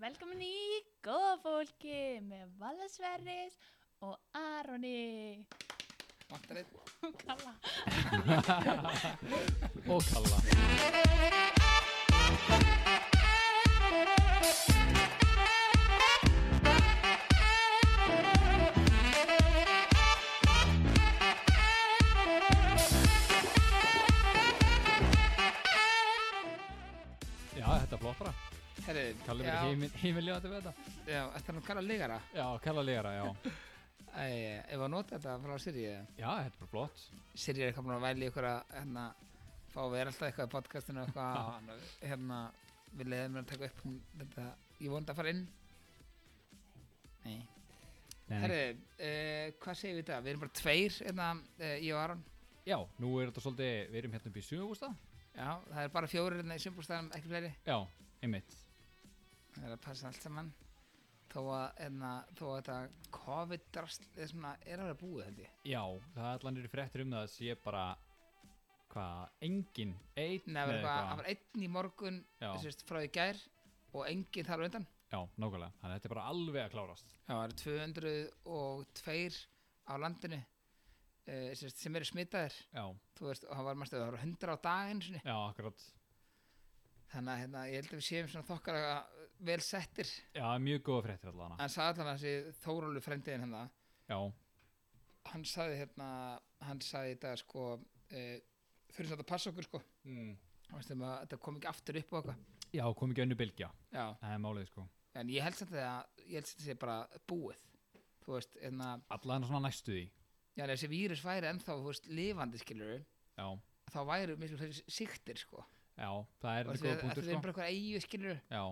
Velkomin í góða fólki með Valasverris og Aroni Vantar einn og Kalla. og kalla Já, þetta er flottara Herri, Kalli já, verið heimiljandi við þetta Já, þetta er nú kallað leikara Já, kalla lera, já Æ, ef að nota þetta frá Siri eh. Já, þetta er bara flott Siri er eitthvað búin að væli ykkur að hérna, fá að vera alltaf eitthvað í podcastinu og eitthvað og hann, hérna, við leiðum að taka upp hún, þetta, ég vond að fara inn Nei Nei, nei. Herri, uh, hvað segir við þetta? Við erum bara tveir, hérna, uh, ég og Aron Já, nú er þetta svolítið, við erum hérna upp í sumabústa Já, það er bara fjórir hérna í sumbúrstæðum, ekki fleiri Já, einmitt Það er að passa allt saman Þó að, hérna, þó að þetta COVID-drast er svona, er að vera búið held ég Já, það er allan eru fréttir um það að sé bara hvað, engin, Nei, einn það var eða eitthvað, það var einn í morgun Já. sérst, frá í gær og enginn þar á undan Já, nákvæmlega, þannig að þetta er bara alveg að klárast Já, það eru 202 á landinu uh, sérst, sem eru smitaðir Já, þú veist, og það var mæstu, það voru 100 á daginn sinni. já, akkurat þannig að hérna, ég held að við séum svona þokkar vel settir, Já, mjög góða fréttir allavega hann sagði allavega þessi Þórólu frendiðin hann það, Já, hann sagði hérna hann sagði þetta sko uh, þurfum þetta að passa okkur sko mm. Þú veist, um að, þetta kom ekki aftur upp og eitthvað já kom ekki önnu bylgja Já, Það er málið sko en ég held samt að það ég held samt að þetta sé bara búið þú veist, hérna Allan svona næstu því Já, en ef þessi vírus væri ennþá, þú veist, lifandi skilur Já, þá væri miklu fleiri siktir, sko já, það er Þú veist, þetta góða þetta punktur er sko bara eitthvað eigu skilur Já,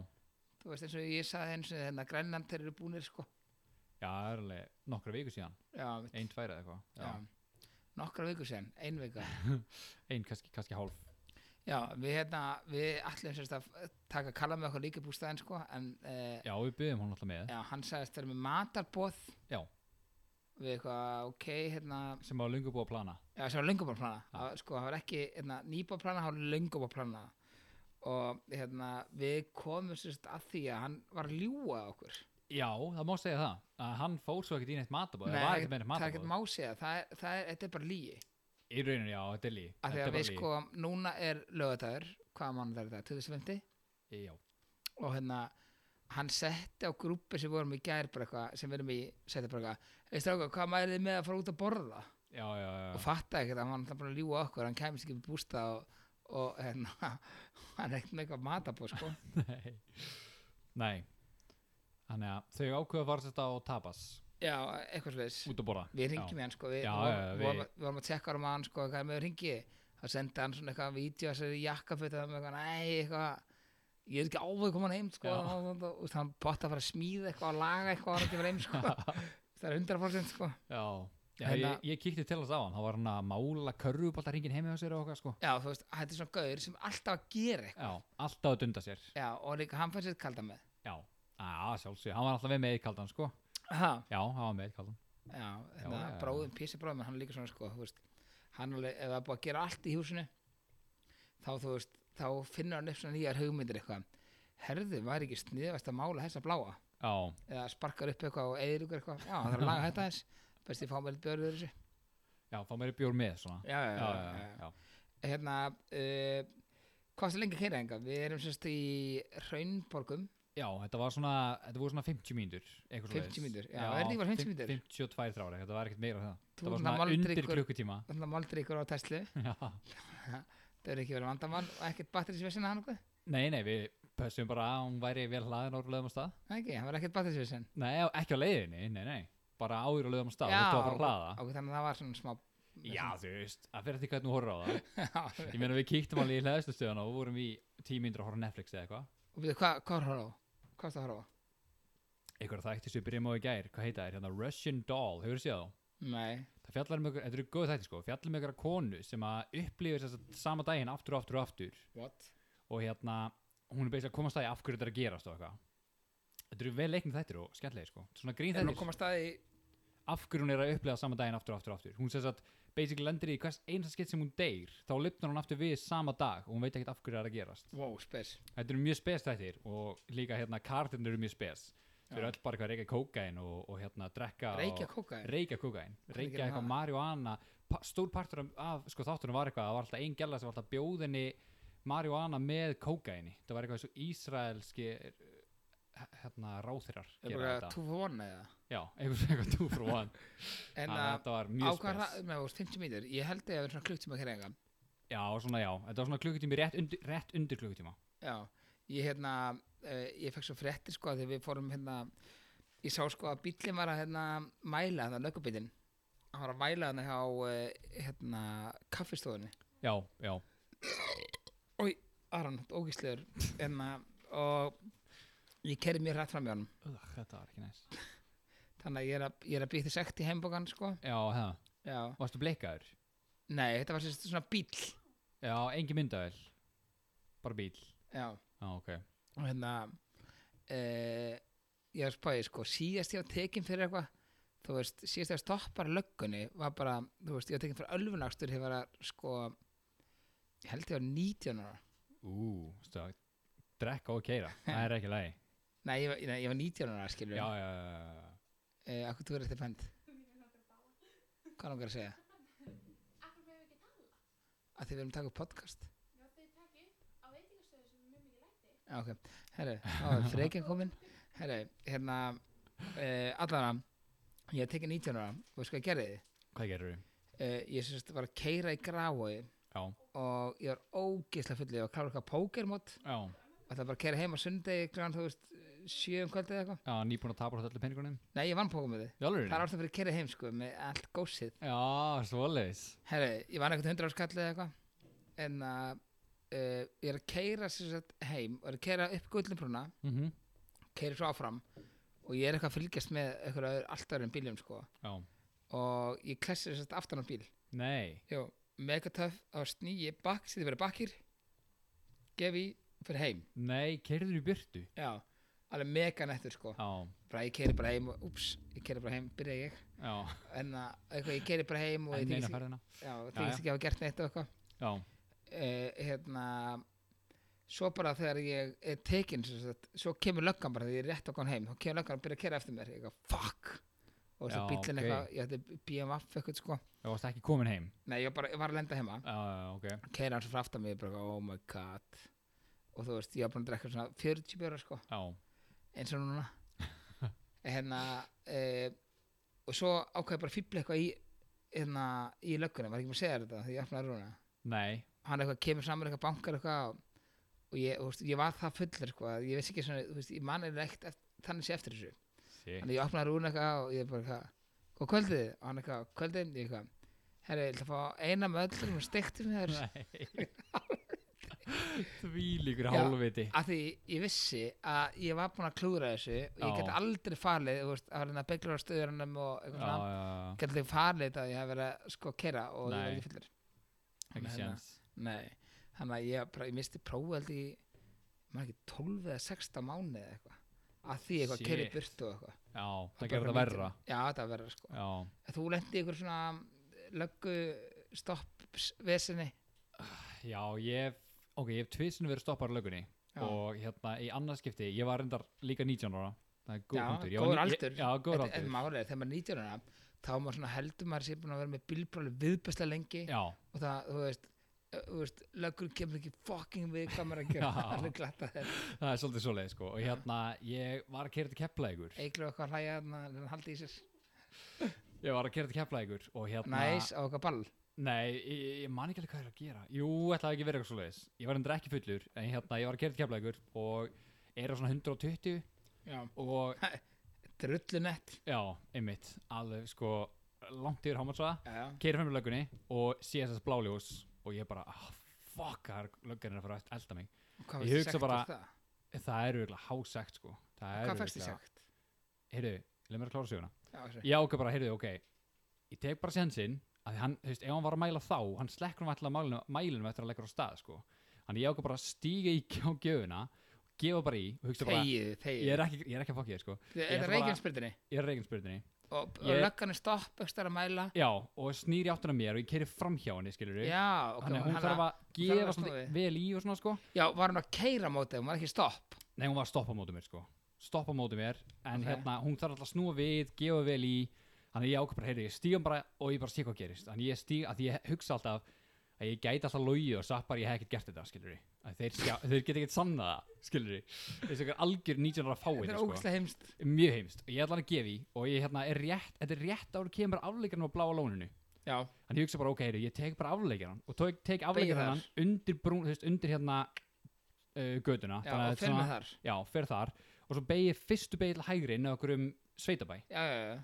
þú veist, eins og ég saði eins og þennan hérna, grænland þeir eru búnir, sko já, það er alveg nokkra viku síðan Já, mitt, Einn tvær eða eitthvað já. Já, Nokkra viku sen, ein vika einn kannski, kannski hálf Já, við hérna, við allir sérst að taka kalla með okkur líka í bústæðin, sko en, eh, Já, við byggum hún alltaf með já, hann sagðist þeir eru með matarboð Já, við eitthvað, ok, hérna sem var lungu búið að plana Já, sem var löngum að plana það, sko, það var ekki hérna, nýbúið að plana, það var löngum að plana og hérna við komum sérst að því að hann var að ljúga að okkur Já, það má segja það að hann fór svo ekkert í neitt matabóð Nei, það var ekkert með neitt það er ekkert matabóð másið það er, það er, þetta er bara lígi Í rauninu, já, þetta er lí af því Þetta er að við bara lí. sko, núna er lögadagur hvaða mánuð er þetta, 2050 Já, og hérna, hann setti á grúpi sem vorum í gær bara eitthvað, sem við erum í setti bara eitthvað, veist það hvað maður þið með að fara út að borða já, já, já. og fattaði ekkert að hann var náttúrulega bara að ljúga að okkur hann kæmist ekki upp í bústa og, og hérna, hann er ekkert með eitthvað matabó sko. Nei. Nei Þannig að þau ákveða að fara þetta á tapas já, eitthvað slags út að borða við ringjum í hann sko, við, Já, vorum, já, við... við- Vorum, að- við vorum að tekka um hann sko, hvað er með ringi þá sendi hann svona eitthvað vídeo að sér jakkaföt og það með eitthvað, nei, eitthvað ég er ekki áveg koma hann heim sko, Já. og, og, og, og, og hann potta að fara að smíða eitthvað og laga eitthvað og hann kemur heim sko. það er 100% sko. Já, já Hérna- ég, ég kíkti til hans á hann þá var hann að mála körfubolta ringin heimi á sér og okkar sko já, þú veist, þetta er svona gaur sem alltaf að gera eitthvað Já, alltaf að dunda sér já, og líka hann fær sér kalda með Já, að sjálfsög, hann var alltaf með með eitt kaldan sko ha. Já, hann var með eitt kaldan já, hérna, já, já. bróðum, písi bróðum hann er líka svona, sko, þú veist hann alveg, ef það er búið að gera allt í húsinu þá, þú veist, þá finnur hann upp svona nýjar hugmyndir eitthvað herðu, var ekki sniðvægt að mála þessa bláa Já, eða sparkar upp eitthvað og eðir ykkur eitthvað já, það er að laga þetta eins best ég fá mér björður þessu já, fá mér bjór með svona já, Já, já, já, já. hérna uh, hvað er lengi að keira enga við erum sérst í Hraunborgum Já, þetta var svona, þetta voru svona 50 mínútur eitthvað 50 svoleiðis. mínútur, já, var þetta ekki bara 50 mínútur? 52 þrára, þetta var ekkert meira en það Þú ert Þetta var svona náttúrulega undir moldríkur. klukkutíma þannig að máldur ykkur á Tesla Já. það eru ekki verið vandamál og ekkert batterisvesen hann okkur Nei, nei, við pössum bara að hún væri vel hlaðin ára lögum á stað ekki, hann var ekkert batterisvesen Nei, á- ekki á leiðinni, nei, nei Bara áður og lögum á stað, Já, þú ert að ok, fara að hlaða ok, þannig að það var svona smá Já, þú veist, að fyrir því hvernig þú horfir á það Já, Ég meina við kíktum alveg í hlæðistustöðuna og vorum í 10 mínútur að horfa á Netflix eða eitthvað og býðu, hvað hva er horfa á? Hvað er það að horfa á? Eitthvað það eftir sem við byrjum á í gær, hvað heita þær, hérna Russian Doll, hefur þú séð þá? Nei, Það fjallar um ykkur, þetta eru góð þætti sko, fjallar um ykkur konu sem að upplifir þess að sama daginn aftur og aftur og aftur what? og hérna, hún er basically að komast að því af hverju þetta er að gerast og eitthvað Þetta eru vel leiknir þættir og skemmtilegir sko, svona grín Er hún að þættir koma að staði af hverju hún er að upplega sama daginn aftur og aftur og aftur hún sess að basically lendir í hvers einasta skitt sem hún deyr þá lifnar hún aftur við sama dag og hún veit ekkert af hverju það er að gerast wow, spes þetta eru mjög spes þættir og líka hérna kartirnir eru mjög spes þau eru Já. öll bara eitthvað að reykja kókain og, og hérna drekka reykja og, kókaðir reykja kókain Hvað er að reykja gera eitthvað með það? marihuana pa, stór partur af, af sko, þáttunum var eitthvað það var alltaf ein gæla sem var alltaf bjóðinni marihuana með kókaini það var eitthvað svo ísraelski eh, hérna ráþyrar er bara 2 for 1 eða já, eitthvað eitthvað two for one en Þannig að að þetta var á mjög hvað spes hrað, með voru 50 mínir ég held að ég verið svona klukktíma að kæra já, svona já, þetta var svona klukkutími rétt undir, rétt undir klukkutíma Já, ég hérna uh, ég fekk svo fréttir sko þegar við fórum hérna, ég sá sko að bíllinn var að hérna mæla þannig að löggubíllinn hann var að mæla þannig á uh, hérna kaffistofunni já, já, Aron, ógíslegur hérna, og ég kerði mjög hrætt fram í honum Ugh, þetta var ekki næst þannig að ég er að, ég er að býta sekt í heimbokan sko já, það, Já, varstu bleikaður nei, þetta var sérst svona bíll já, engi myndavel bara bíl, Já, já, ok og hérna uh, ég er spáðið sko síðast ég var tekin fyrir eitthvað þú veist, síðast ég var stoppar löggunni var bara, þú veist, ég var tekin fyrir ölfunakstur ég var að sko ég held ég var 19 ára ú, stu að drekka og keira, það er ekki lægi nei, ég var, nei, ég var 19 ára, skilur já, já, já, já. uh, akkur þú er þetta fend hvað langar að segja? að þið verðum að taka upp podcast Já, ok, herru, þá er frekjan komin herru, hérna uh, allan ég var tekin 19 ára og veist hvað ég gerði? hvað gerur þau? uh, ég sérst var að keira í grái Já. og ég var ógeðslega fullið ég var að klára eitthvað pókermót Já, og það bara að keira heim á sundegi grann þú veist eh, sjö um kvöldið eitthvað já, nýbúin að tapa á öllu peningunum nei ég vann pókermótið Jálfurinn? það er alltaf fyrir að keira heim sko með allt gósið Já, svoleiðis herru ég vann eitthvað hundra áskallið eitthvað en að uh, ég er að keira sérst heim og er að keira upp gullinbrúna mm -hmm. keira svo áfram og ég er eitthvað að fylgjast með eitthvað alltaf öðrum bíljum sko Já, og ég klessi sérst aftan á bíl nei Jó, mega töff á snýi bakk, sýtti verið bakkir gef í fyrir heim Nei, keirður í byrtu já, alveg mega nettur sko Já, bara ég keiri bara heim og úps, ég keiri bara heim byrja ég, já, en að eitthvað ég keiri bara heim og ég en neina þykist- ferðina já, Já, já. þykist ekki að hafa gert neitt og eitthvað Já, uh, hérna svo bara þegar ég er tekin svo, sagt, svo kemur löggan bara þegar ég er rétt okkur heim þá kemur löggan og byrja að keira eftir mér ég eitthvað, fuck og svo Já, bíllinn ok. eitthvað, ég ætti BMF eitthvað sko, það varst ekki komin heim nei ég var bara, ég var að lenda heima Já, já, ok keira hans frá aftan mig bara, oh my god og þú veist, ég var búin að drekka svona 40 bjóra sko, Já, eins og núna hérna e, og svo ákvæði bara fýbli eitthvað í hérna, í löggunum, var ekki maður að segja þér þetta því ég opnaði rúna, nei hann eitthvað kemur saman eitthvað bankar eitthvað og, og ég, þú veist, ég var það fullur sko, að ég veist ekki svona, þú veist, ég man er ekkert eft- þannig sé eftir þessu, Sitt þannig ég opnaði rúna eitthvað og ég bara eitthvað, og kvöldið og hann eitthvað, kvöldið, ég eitthvað herri, ég ætla að fá eina með öllum og steiktum með þér Nei Því líkur Já. hálfviti að því ég vissi að ég var búin að klúðra þessu og ég Já. geti aldrei falið þú veist, að hérna beglar á stöðurinnum og Já, eitthvað svona já, já, geti aldrei falið þetta að ég hef verið að sko kera og ég Nei. var ekki fullur Hérna. ekki séns Nei. þannig að ég, bara, ég misti prófið í maður ekki 12 eða 16 mánu eða eitthvað að því eitthvað Shit. keri burt og eitthvað Já, það bara gerði það myndin. verra já þetta verra sko Já, En þú lendi ykkur svona mm, löggu stoppvesinni já, ég hef Ok, ég hef tvisinu verið stoppar á lögunni Já. og hérna í annarskipti, ég var reyndar líka 19 ára það er góð Já, punktur Ég góður var ní- aldur. ég, já, góður en, en aldur málið er, þegar maður nýtjur hana þá er maður svona heldur maður sér búin að vera með bílbráli viðbæsla lengi já, og það, þú veist ö, þú veist, löggur kemur ekki fucking við hvað maður er að gera, Já. hann er glatt að þeir það er svolítið svoleið sko og hérna, ég var að kera til Keflavíkur eiglur eitthvað að hlæja þarna, hann haldi í sér ég var að kera til Keflavíkur og hérna, næs á eitthvað ball nei, ég, ég man ekki alveg hvað ég er að gera jú, ætlaði ekki að vera eitthvað svoleiðis ég var endur ekki fullur, en hérna, ég var að kera til Keflavíkur og er á svona 120 já. og, drullunett já, einmitt alveg sko, langt yfir hámatsvaða já, keiri fram í löggunni og sé þess bláljós og ég bara, ah, fuck það er löggan er að fara að elda mig hvað fækst Ég hugsa þið sagt bara- úr það? Eh, það er auðvitað hásegt sko það er hvað fækst þið örugglega- sagt heyrðu, leið mér að klára söguna já, sorry. ég ákveð bara, heyrðu, ok ég tek bara sénsinn að því hann, þú veist, ef hann var að mæla þá hann um slekkur hann alltaf mælinum, mælinum eftir að leggur á stað sko. hann ég ákveð bara að stíga í á gjöfuna gefa bara í og hugsa bara þegið, ég þegið er ekki, ég er ekki að fokki þér sko. er ætla þetta bara- reikinspyrðinni ég er reikinspyrðinni og, og Ég- löggan er stopp ekki að mæla já, og snýr í áttina að mér og ég keri fram hjá henni, skilur við já, ok, þannig að hún hana- þarf að þarf að gefa snúa svona við. vel í og svona sko já, var hún að keira mótið, hún var ekki stopp Nei, hún var að stoppa á móti mér sko Stoppa á móti mér En Ok. hérna, hún þarf alltaf að snúa við, gefa vel í Þannig að ég ákveð bara, heyrðu, ég stígum bara Og ég bara sé hvað gerist Þannig ég stíg, að ég hugsa alltaf Að ég gæti alltaf logið og sagt bara Ég hef ekkert gert þetta, skilur við þeir, sjá- þeir geta ekkert sanna það, skilur við Þessi okkar algjör 19 ára fáið þetta er ógæslega heimst sko. Mjög heimst Og ég ætla hann að gefa í Og ég hérna, er rétt, þetta er rétt ára kemur afleikarnum á bláa lóninu já, Þannig ég hugsa bara, ok, heyrðu, ég tek bara afleikjaran og tek, tek afleikjaran þar. undir, brún, þú veist, undir hérna uh, göduna já, og fyrir með þar já, fer þar og svo beigir fyrstu beigir til hægri inn á okkur um sveitabæ já, já, já,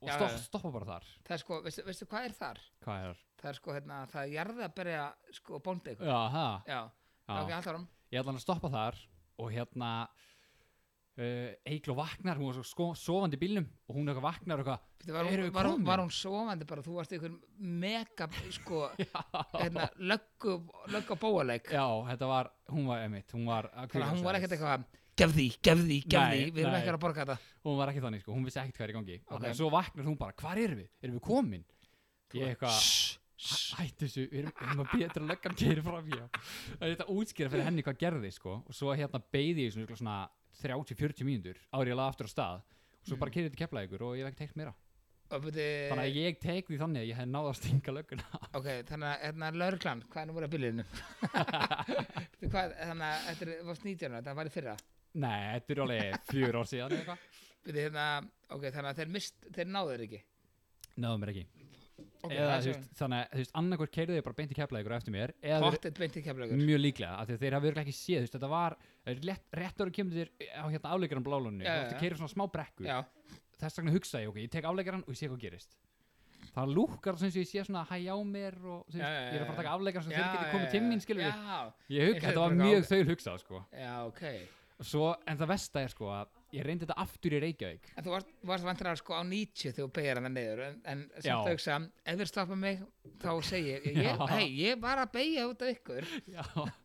og Já, stopp, já. stoppa bara þar það er sko, veistu, veistu hvað er þar? hvað er það er sko, hérna, það er jarðið að byrja sko, bóndi ykkur, það? já, ha, já, ok, já. alltaf rom ég ætla hann að stoppa þar og hérna uh, Eiklo vaknar, hún var svo sko, sofandi í bílnum og hún eitthvað vaknar og eitthvað var, Erum hún- við var, hún- komin? var hún sofandi bara, þú varst ykkur mega, sko, hérna, löggu, löggu bóaleik já, þetta var, hún var emitt hún var, að þannig að hún var hvíla sig ekkert aðeins. eitthvað gef því, gef því, gef Nei, því, við erum nei. ekki að borga þetta hún var ekki þannig sko, hún vissi ekkert hvað er í gangi Ok. Sko, okay. svo vaknar hún bara, hvar erum við? erum við komin? ég eitthvað Shh, shh. Ætti þessu, við erum, við erum að betra löggan keyrir fram hjá Það er þetta útskýra fyrir henni hvað gerði sko Og svo hérna beigði ég í svona, svona 30-40 mínútur Árið ég laði aftur á stað Og svo bara keyrði þetta keflaði ykkur og ég hef ekki teikt meira Og byrju- Þannig að ég teik því þannig að ég hef náð að stinga lögguna ok, þannig að hérna, lörglan, hvað er nú voru að bílinu hvað, þannig að þetta er- varst 19 ára, það var í fyrra Nei, þetta er alveg fjör ár síðan eða eitthvað Byrju, hérna, ok, þannig að þeir mist, þeir náðu þeir ekki Náðum mér ekki ok, eða, það þú er veist, Þannig að þú veist, annarkvör keyrði ég bara beint í keflaði ykkur eftir mér Eða svo þeir- pottet beint í keflagur mjög líklega af því að þeir hafa örugglega ekki séð þú veist, þetta var eh, rétt, rétt ára kemur þér á hérna afleikaran blálunni Já, þú já, ætti já. að keira svona smá brekku já, þess vegna hugsa ég, ok, ég tek afleikaran og ég sé hvað gerist það lúkkar sem sé ég sé svona hæ á mér og þú veist, Já, já, já, ég er að fara að taka afleikaran sem Já, þeir geti já, komið já, til já. mín, skilur við já, ég Ég hug, sé þetta var bara mjög á- þau hugsað, sko já, ok en Svo, en það vesta er, sko, að ég reyndi þetta aftur í Reykjavík þú varst, varst vantilega sko á 90 þegar þú beigir hann niður en, en samt Já. að hugsa, ef þeir stoppa mig þá segi ég, ég Já. hei, ég var að beigja út af ykkur já,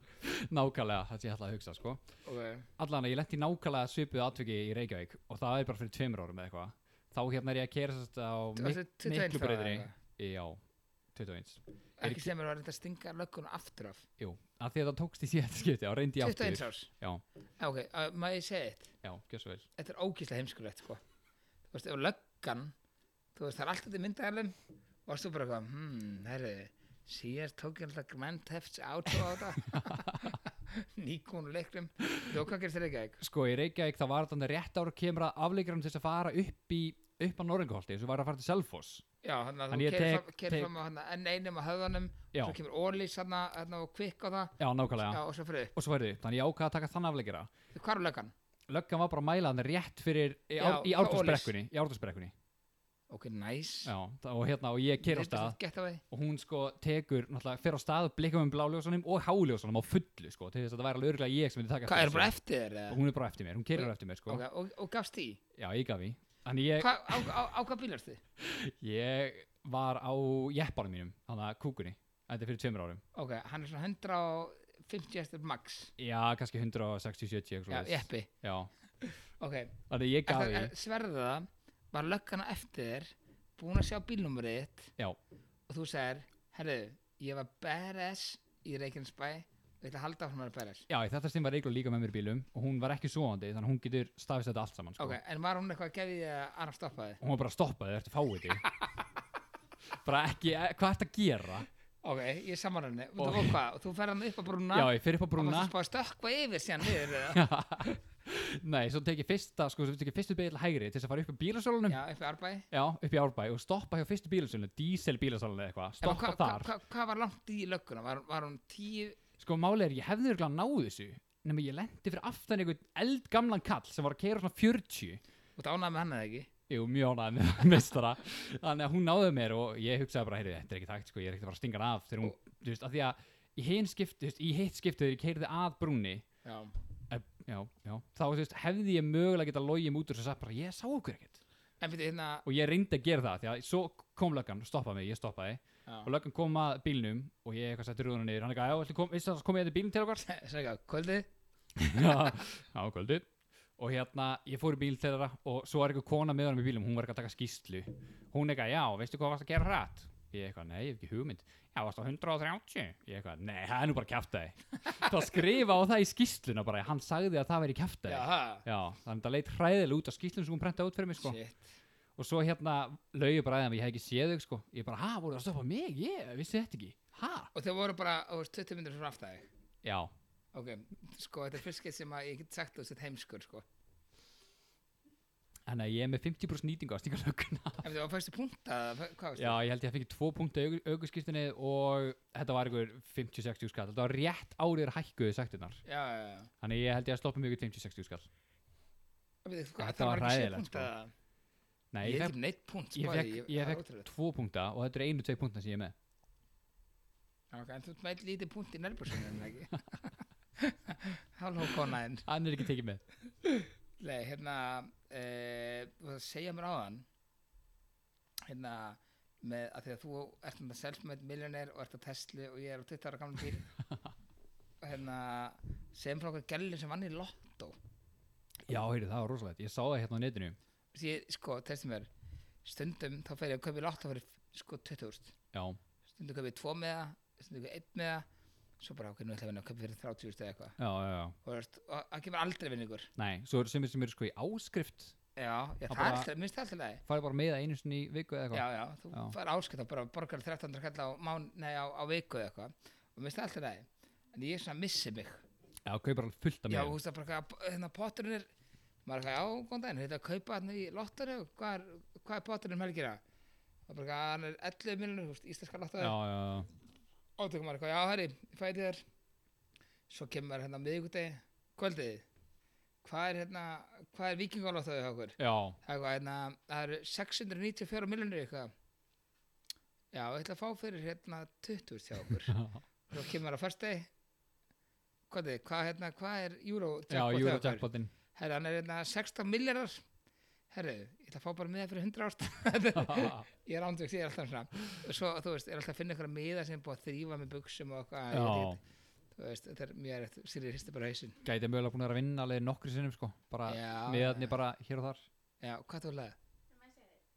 nákvæmlega, það sem ég ætlaði að hugsa, sko okay. allan að ég lendi nákvæmlega svipuð atviki í Reykjavík og það er bara fyrir tveimur árum eða eitthvað þá hérna er ég að kera sérst á Þú varst 22 ára miklubreyðri eða já, 21 Er ekki ekki- sem er að reynda að stinga löggun aftur af jú, að því að það tókst í síðan skipti á reyndi ég 21 aftur árs, já, ok, uh, maður ég segi þetta já, gjössu vel þetta er ógíslega heimskulegt sko. þú veist, ef löggan þú veist, það er allt þetta myndaðalum og varst þú bara eitthvað, hmm, herri síðast tók ég alltaf Grand Thefts átó á þetta nýkún leiklum, þú hvað gerist þér ekki ekki sko, í Reykjavík það var þannig rétt ára kemur að afleikarum til þess að fara upp í upp á Norringaholti, þessu var að fara til Selfoss já, þannig að En þú ég kerir tek- fram, kerir tek- fram á hana, enn einum á höfðanum já, svo kemur Ólís hana, hana og kvikk á það já, nákvæmlega já, og svo fyrir upp, og svo verði, þannig ég ákvað að taka þann afleikara hvað er löggan? löggan var bara að mæla þannig rétt fyrir í, Já, á, í hjá ártúrsbrekkunni í ártúrsbrekkunni, ok, næs já, það- og hérna og ég kera á stað gett af því og hún sko tekur, náttúrulega, fer á stað blikum um bláljósunum og háljósunum á fullu sko, til þess að það væri alveg örgulega ég sem myndi taka hvað er þessu. bara eftir þér? eða? og hún er bara eftir mér, hún kerir eftir mér sko Ok, og, og gafst því? já, ég gaf í, þannig ég, Hva, á, á, á hvað bílarst þið? ég var á jeppanum mínum, þannig að kúkunni þetta er fyrir tveimur árum, Ok, hann er svona 150 hestur max já, kannski Já, 160-70 eitthvað svoleiðis. jeppi já, Ok, þannig að ég eftir, gaf í er- sverðu það Var löggana eftir þér Búin að sjá bílnúmerið þitt Já. Og þú segir, herru, ég var badass Í Reykjanesbæ Og ég ætla að halda áfram að vera badass já, í þetta stund var Eiklo líka með mér í bílum og hún var ekki svoandi, þannig að hún getur stafist þetta allt saman sko. Ok, en var hún eitthvað að gefa því að annar stoppa þið? og hún var bara að stoppa þau, ertu fáið þig bara ekki, eh, hvað ert að gera Ok, ég saman henni Og, Og- og, hvað, og þú ferð hann upp á brúna já, ég fyrir upp á Og brúna varstu bara að stökkva yfir síðan niður eða? Nei, svo tek ég fyrsta, sko, svo tek ég fyrstu beigil hægri til þess að fara upp í bílasölunum Já, upp í Árbæ En Já, upp í Árbæ og stoppa hjá fyrstu bílasölunum, diesel bílasölunum eða eitthvað, hvað- stoppa hvað- þar hvað- Hvað var langt í lögguna? Var, var hún tíu Sko, máli er, ég hefði örugglega náð þessu nema ég lendi fyrir aftan einhvern eldgamlan kall sem var að keira svona 40 Þú dánaði með hann eða ekki? Jú, mjög ánægð með mestara Þannig að hún náði mér og ég hugsaði bara, heyrðu, þetta er ekki takt, sko, ég er ekkert að fara að stinga hann af þegar hún, þú veist, af því að í hinn skipti, þú veist, í hitt skipti þegar ég keirði að brúnni eh, Já Já, já, þá, þú veist, hefði ég mögulega geta logið mútur sem sagt bara, ég sá okkur ekkert En fyrir hérna og ég reyndi að gera það því að svo kom löggan, stoppaði mig, ég stoppaði og Já. löggan kom að bílnum og ég eitthvað setti rúðuna niður hann eitthvað, já, viltu kom, vissi það kom ég þetta bílnum til okkar Sækja, kvöldið já, á kvöldi og hérna, ég fór í bíl til þeirra og svo er eitthvað kona með honum í bílum, hún var ekki að taka skýslu hún eitthvað, já, veistu hvað varst að gera hratt ég eitthvað, nei, ég hef ekki hugmynd já, varst á 130, ég eitthvað, nei, það er nú bara kjaftaði það skrifa á það í skýsluna bara, hann sagði að það væri kjaftaði já, þannig að það leit hræðilega út á skýslun sem hún prentaði út fyrir mig, sko shit og svo hérna, laugi bara aðeins, ég hef ekki séð þau, sko ég bara, ha, voru það að stoppa mig, ég vissi þetta ekki ha, og þau voru bara, þú veist, 20 minnir frá aftæði já, ok, sko, þetta er fyrskið sem að ég get sagt þú sett heimskur, sko þannig að ég er með 50% nýtingu á stingalögguna ef þú var fyrstu punkt að, hvað veist Já, ég held ég að fengi tvo punktu aukurskýrstinni og þetta var ykkur 50-60 skall. Þetta var rétt árið hækkuðu sektunar. já, já, já Þannig ég held ég að stoppa mjög 50-60 skall. Ég veit, Þetta hvað, það var var ekki sé hræðilegt, punkt sko. að Nei, ég ég hef fekk, neitt punkt, ég sko, fekk, ég það er fekk ótrúlegt. tvo punkta og þetta eru einu-tvei punkta sem ég er með. Já, ok, en þú ert með einn lítið punkt í nærbúrsunum, ekki? Halló, konaðinn. Hann er ekki tekið með. Nei, hérna, eh, þú varst að segja mér áðan, hérna, með að því að þú ert með self-made millionaire og ert á Tesla og ég er á 20 ára gamla bíl. og hérna, segjum frá okkur gælinn sem vann í lottó. Já, heyrðu, það var rosalegt. Ég sá það hérna á netinu. Því, ég, sko, testi mér, stundum þá fer ég að kaupa í lottó fyrir, sko, 20.000. Já, Stundum kaupa ég tvo með það, stundum kaupa ég einn með það, svo bara okkur nú ætla að vinna að kaupa fyrir 30.000 eða eitthvað. já, já, já. Og þú veist, og það kemur aldrei vinningur. Nei, svo eru sumir sem eru sko í áskrift. Já, já Það það bara- er alltaf, minnst það alltaf leið Farið bara með það einu sinni í viku eða Já, eitthvað. já, þú Já. fær áskipt að bara borgar 1300 kall á, mán, nei, á, á viku eða eitthvað og minnst það alltaf leið en ég er svona að missi mig Já, kaupar alveg fullt af Já, með. þú veist það bara, hvað- hérna potturinn er maður er eitthvað, já, góðan daginn, þetta að kaupa hann í lottari hvað er, hvað er potturinn um helgina og bara, eitthvað, hann er 11 miljonur, þú veist, íslenska Já, lottari já, já. og þú komar eitthvað, já, herri, ég fæði þér svo kemur maður, hérna miðvikudegi kvöldið hvað er hérna, hvað er vikingalottari hjá okkur Já, Það er eitthvað, hérna, það eru 694 miljonir eitthvað. Já, ég ætla að fá fyrir hérna 20 hjá okkur. Svo kemur það á fyrstegi. Hvað er, hvað, hérna, hvað er Euro já, Eurojackpotin. Herra, hann er hérna 16 miljardar. Herru, ég ætla að fá bara miða fyrir 100 ást. ég er ándvöks, ég er alltaf svona. Og svo, þú veist, er alltaf að finna einhverja miða sem er búið að þrýfa með buksum og eitthvað. Já, ég veit ekki. Þú veist, þetta er mjög rétt, Sýri hristi bara hausinn. gæti mögulega búin að vera að vinna alveg nokkri sinnum sko. Bara Já, meðarni já. bara hér og þar. Já, hvað þú hlaði?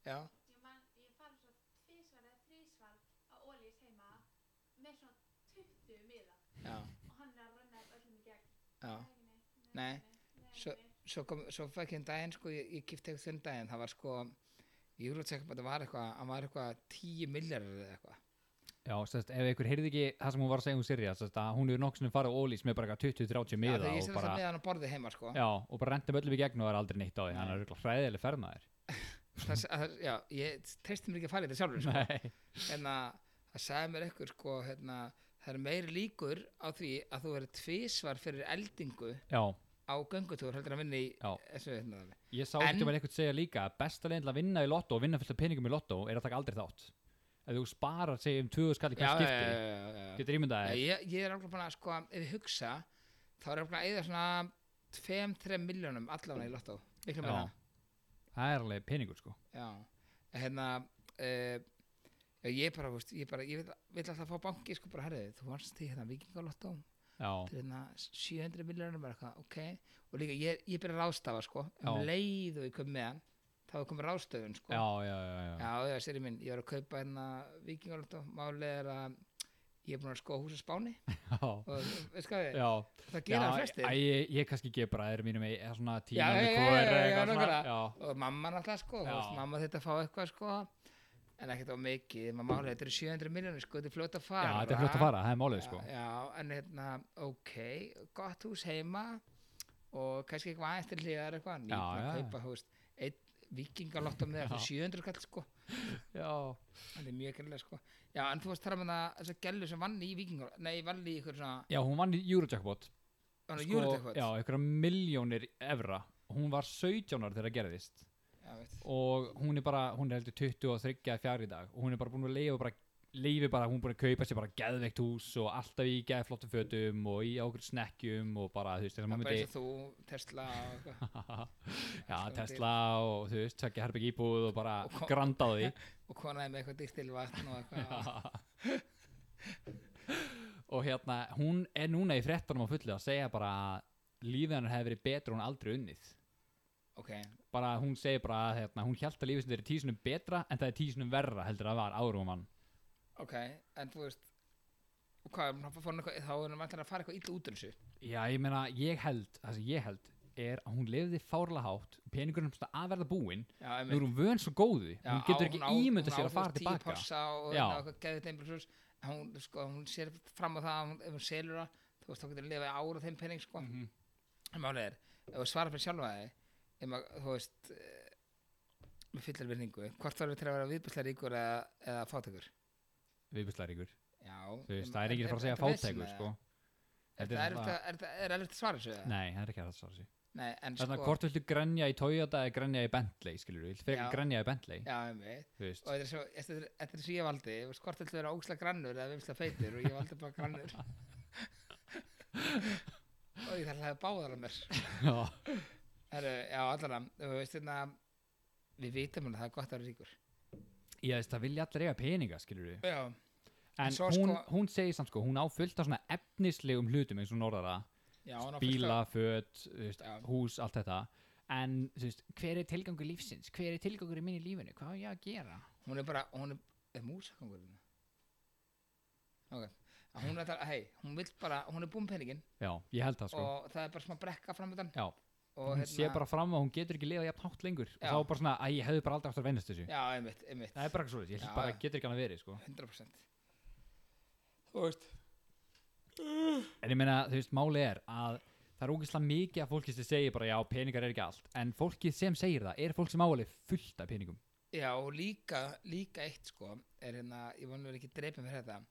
Já, Ég man, ég fann svo tvísvar eða þrísvar á Ólís heima með svona 20 miða já, og hann er að renna þetta öllum í gegn. já. Nei, Nei, svo, svo, kom, svo fæk ég um daginn sko, ég, ég kipti eitthvað þinn daginn það var sko, ég vil tjekka bara það var eitthvað, hann var eitthvað 10 miljardar eða eitthvað, Já, sérst, ef ykkur heyrði ekki það sem hún var að segja um Sirja, sérst, að hún er nokkuð sem farið á ólís með bara eitthvað 20-30 já, miða þegar ég og setja bara, það með hann á borðið heima sko, já, og bara renta möllum í gegn og það er aldrei neitt á því, Nei. hann er örugglega hræðileg fermaður. það, það, já ég treysti mér ekki að fara í þetta sjálfur sko, Nei, en að það sagði mér eitthvað sko, hérna, það eru meiri líkur á því að þú verður tvísvar fyrir eldingu já, á göngutúr heldur að vinna í Já. þessu hérna, dæmi. ég sá En- ekki maður eitthvað segja líka að besta leiðin til að vinna í lottó og vinna fullt af peningum í lottó er að taka aldrei þátt. Ef þú sparar, segjum, 20 skall í já, já, hvert já, skipti, já, já, já. getur ímyndað Já, þér, ég, ég er alveg búin að sko, ef ég hugsa þá er ég alveg að eða svona 2-3 miljónum allavega í lottó miklu með Já. það það er alveg peningur sko. já. En hérna uh, já, ég bara, þú veist, ég bara ég vil, vil alltaf fá banki, sko bara herrið þú varst því hérna vikingalottó Já, til hérna 700 miljónum bara eitthvað, ok og líka ég, ég byrja að ráðstafa sko um Já. leið og ég kom með hann þá er komið ráðstöfun sko já, já, já, já, já, já sér ég minn, ég var að kaupa hérna vikingalottó, málið er að ég er búin að sko húsa spáni já, og veist hvað ég, já. það gera það Já, flestir æ, ég, ég kannski gef bara aðeir mínum eða svona tíma Já, já, með já, hvor já, já, eitthvað já, svona, nákvæmlega. já. og mamma náttúrulega sko, þú Já. veist, mamma þetta að fá eitthvað sko en ekkert á mikið, maður máli þetta eru 700 miljónir sko, þetta er fljótt að fara Já, þetta er flott að fara, það er málið sko já, já, en hérna, ok, gott hús heima og kannski eitthvað aðeins til hliðar eitthvað, Já, nýtt að já, já. kaupa þú veist, einn vikingalott á með Já. 700 kall sko, Já, þetta er mjög kærlega sko já, en þú veist þar með það, þess að gælu sem vann í vikingalott nei, vann í ykkur svona, hún vann í Eurojackpot vann í júrið eitthvað Sko, Já, einhverja miljónir evra Hún var 17 ára þegar það gerðist já, veist, og hún er bara, hún er heldur 20 og 30 eða 4 í dag og hún er bara búin að leifa bara leifi bara, hún er búin að kaupa sér bara geðveikt hús og alltaf í geði flottum fötum og í okkur snekkjum og bara, þú veist, þess að bara maður eins myndi og þú, Tesla og eitthvað Já, Sko, Tesla og þú veist, tvekja herbygg íbúð og bara Og kom- grandaði og konaði með eitthvað dýrt til vatn og eitthvað og hérna, hún er núna í frettunum á fullu að segja bara að lífið hennar hefði verið betur og hún aldrei unnið ok, bara hún segir bara að hérna, hún hjælt að lífið sem þeir er tísunum betra en það er tísunum verra heldur að það var árum hann ok, en þú veist og hvað, hún fór hann eitthvað, þá er hann alltaf að fara eitthvað illa út úr þessu já ég meina ég held það sem ég held er að hún lifði fárlega hátt peningurinn sem að verða búinn já, einmitt. nú er hún vön svo góðu Já, hún getur á- ekki á- hún ímynda á, sér að þú fara veist, tíu tilbaka possa og Já. hérna, eitthvað geðið þeim pluss hún, sko, hún sér fram á það að hún, ef hún selur það þú veist þá getur lifað í ár á þeim pening sko. mm Mhm. -hmm. málið er, ef þú svarar fyrir sjálfa þig ef maður, þú veist eh, með fullar virðingu hvort þarf til að vera viðbúslega ríkur eða, eða fátækur viðbúslega ríkur já, þú veist það Mm. er ekki að fara að segja fátækur sko er Þetta það er svona- erfitt að- er erfitt að svara þessu eða? nei það er ekki að það svara sér nei, en Þannig sko að hvort viltu grenja í Toyota eða grenja í Bentley, skilur við, Já. frekar grenja í Bentley, já, einmitt. þú veist. og þetta er svo- þetta er- þetta er svo ég valdi þú veist, hvort ætlaður að ógslag grannur eða viðbúslega feitur og ég valdi bara grannur og ég þarf að hafa báðar að mér Já, Heru, já, allan að, þú veist hérna við vitum hún að það er gott að vera ríkur ég veist, það vilja allir eiga peninga, skilur við. já, En svo hún, sko- hún segir samt sko, hún á fullt af svona efnislegum hlutum eins og norðara, já, hún á fullt af- bíla, föt, þú veist, Já. hús, allt þetta. En, þú veist, hver er tilgangur lífsins? Hver er tilgangur í minni lífinu? Hvað á ég að gera? hún er bara, hún er, er músakangurinn ok Að hún er alltaf, hei, hún vil bara, hún er búin peningin Já, ég held það sko. og það er bara smá brekka framöndan Já, og hérna- hún sé bara fram að hún getur ekki lifa jafn hátt lengur. Já. Og þá bara svona, að ég hefði bara aldrei átt að vennast þessu. já, einmitt, einmitt, Það er bara ekki svolítið, ég Já, held bara já. getur ekki hann að verið sko. 100% þú veist En ég meina, þú veist, máli er að það er ógeðslega mikið að fólki sem segir bara já, peningar er ekki allt, en fólkið sem segir það er fólk sem áalið fullt af peningum. Já, og líka, líka eitt sko er hérna, ég vonum við ekki dreipin fyrir þetta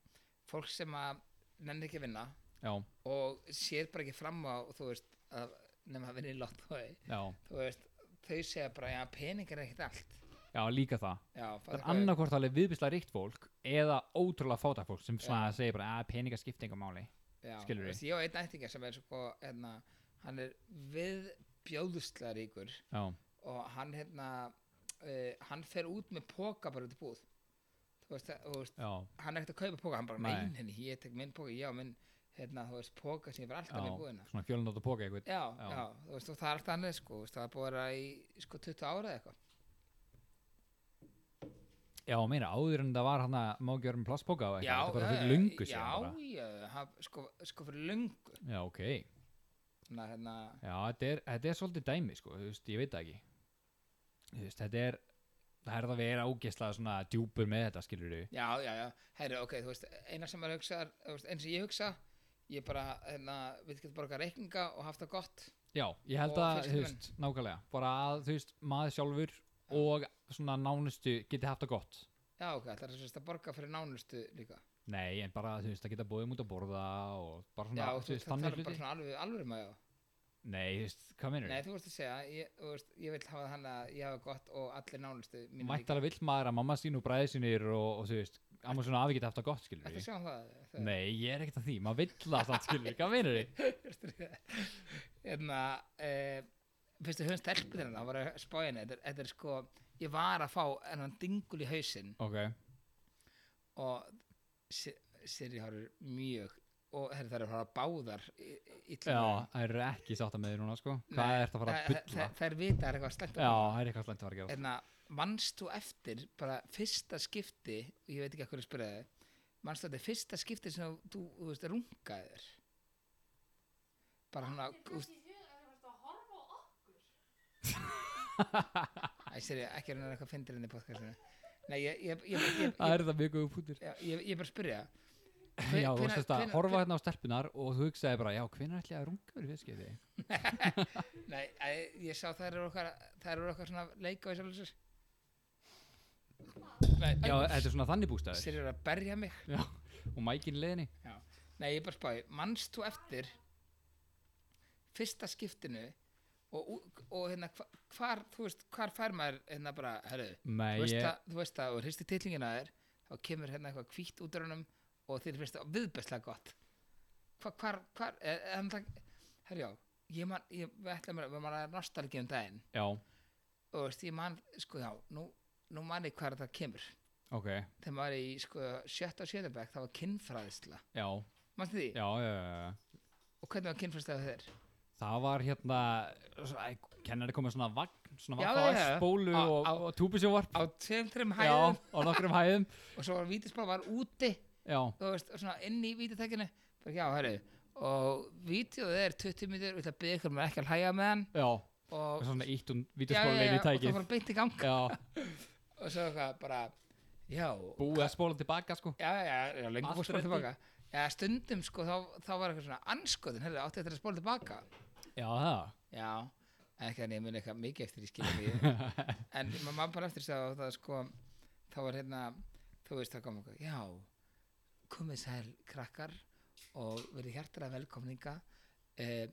fólk sem að nenni ekki að vinna Já, og sér bara ekki fram á þú veist, að, nema að vinna í lottói já, þú veist, þau segja bara já, peningar er ekkert allt já, líka það. já, Það er annarkvort alveg viðbýslega ríkt fólk eða ótrúlega fátæk fólk sem svona segir bara að peningar skipta enga máli. já, skilurðu. þú veist, ég og einn ættinga sem er sko hérna, hann er viðbjóðslega ríkur Já, og hann hérna uh, hann fer út með póka bara út í búð þú veist, þú veist já, hann er ekkert að kaupa póka, hann bara Nei. meinin ég tek minn póka, já, minn hérna, þú veist, póka sem ég var alltaf já, með búðina svona fjölunótt og póka eitthvað. já, já, Já. þú veist, og það er alltaf annað sko, þú veist, það er búið að vera í sko 20 ára eða eitthvað Já, meina, áður en það var hann að má ekki vera með plasspóka og eitthvað, þetta er bara já, eh, fyrir já, lungu síðan bara. já, hann, sko, sko fyrir lungu Já, ok. þannig að hérna, Já, þetta er, þetta er svolítið dæmi, sko, þú veist, ég veit það ekki. Þú veist, þetta er, það er það að vera ógeðslega svona djúpur með þetta, skilur við. já, já, já herri, ok, þú veist, eina sem maður hugsa þú veist, eins og ég hugsa, ég bara hérna, við getum borgað reikninga og haft það gott Já, ég held Og að, þú fjölskyldumenn. veist, nákvæmlega, bara að, þú veist, maður sjálfur og svona nánustu geti haft það gott. já, ok, það er sérst að borga fyrir nánustu líka Nei, en bara, þú veist, að geta bóðið mútt að borða og bara svona, já, þú veist, þannig það er hluti. bara svona alveg, alveg maður, já Nei, þú veist, hvað minnur Nei, þið? þú vorst að segja, ég, þú veist, ég vil hafa þannig að ég hafa gott og allir nánustu mínu Mættara vill maður að mamma sín og bræði sínir og, og þú veist, amma svona afi geti haft það gott, skilur Þetta við. sjá um það, það Nei, ég er ekkert að því, maður vill það samt, skilur við, hvað minnur þið? Nei Hérna, eh, fyrstu höfum stelpur hérna, það var að spája henni þetta, er- þetta er sko, ég var að fá hennan dingul í hausinn Ok, og Siri horfir mjög og herri, það er að fara báðar í, í já, það er ekki sátt að með því núna, sko. Hvað er þetta að fara að bulla? Það er vita, það er eitthvað slæmt Já, það er eitthvað slæmt að fara að gera. hérna, mannst þú eftir bara fyrsta skipti og ég veit ekki að hverju spyrja þig mannst þú eftir fyrsta skipti sem þú, þú, þú veist, rungaði þér bara hann að Þetta í hug að það varst að horfa á okkur. Æ, sér ég, ekki reyna eitthvað fyndir henni í podcastinu Nei, ég, ég, ég, ég, ég, Það ég, er það mjög góð pútur. ég, ég, ég bara spyrja Hve- Já, þú hvenær- veist að hvenær- horfa hérna á stelpunar og þú hugsaði bara, já, hvenær ætli ég að runga verið viðskipti? Nei, æ, ég sá þær eru okkar þær eru okkar svona leika og sjálfsir Nei, Já, þetta er svona þannig bústæður sér eru að berja mig Já, og mækin leðinni Nei, ég er bara spáði, mannst þú eftir fyrsta skiptinu og, og, og hérna hva- hvar, þú veist, hvar fær maður hérna bara, herru, Nei, þú veist ég, að, þú veist að og hristi titlingina þér, þá kemur hérna eitthvað hvítt út úr honum og þér finnst það viðbestlega gott hva, hvar, hvar, eh, en það herru já, ég man, ég, við ætlum að við man að nostalgi um daginn já, og þú veist, ég man, sko já, nú, nú man ég hvar það kemur ok þegar maður er í, sko, sjötta og sjötta bekk það var kynfræðisla, Já, mannstu því já, já, já, já. og hvernig var kynfræðisla þegar það var hérna svo- æ, kennari komið svona vagn svona Já, vagn já, já. spólu Á- og, á- og túbisjóvarp á tveim, þreim já, hæðum á nokkrum hæðum og svo var vítaspá var úti já, þú veist, og svona inn í vítatækinu bara já, herru, og vítjóð er 20 mínútur, við ætla að byggja ykkur maður ekki að hlæja með hann já, og og svona ítt hún Já, já, já, vítaspólu inn í og það tækið fór beint í gang já, og svo eitthvað bara, já já, búið að spóla tilbaka sko já, já, já lengur Allt fór spóla ready. tilbaka já, stundum sko, þá, þá var eitthvað svona anskotin, herru, átti eftir að spóla tilbaka já, það, já, en ekki þannig, ég muni eitthvað mikið eftir í skilum en maður man bara eftir þess að það sko, þá var hérna þú veist, það kom okkur, já komið sæl krakkar og verið hjartara velkomninga eh,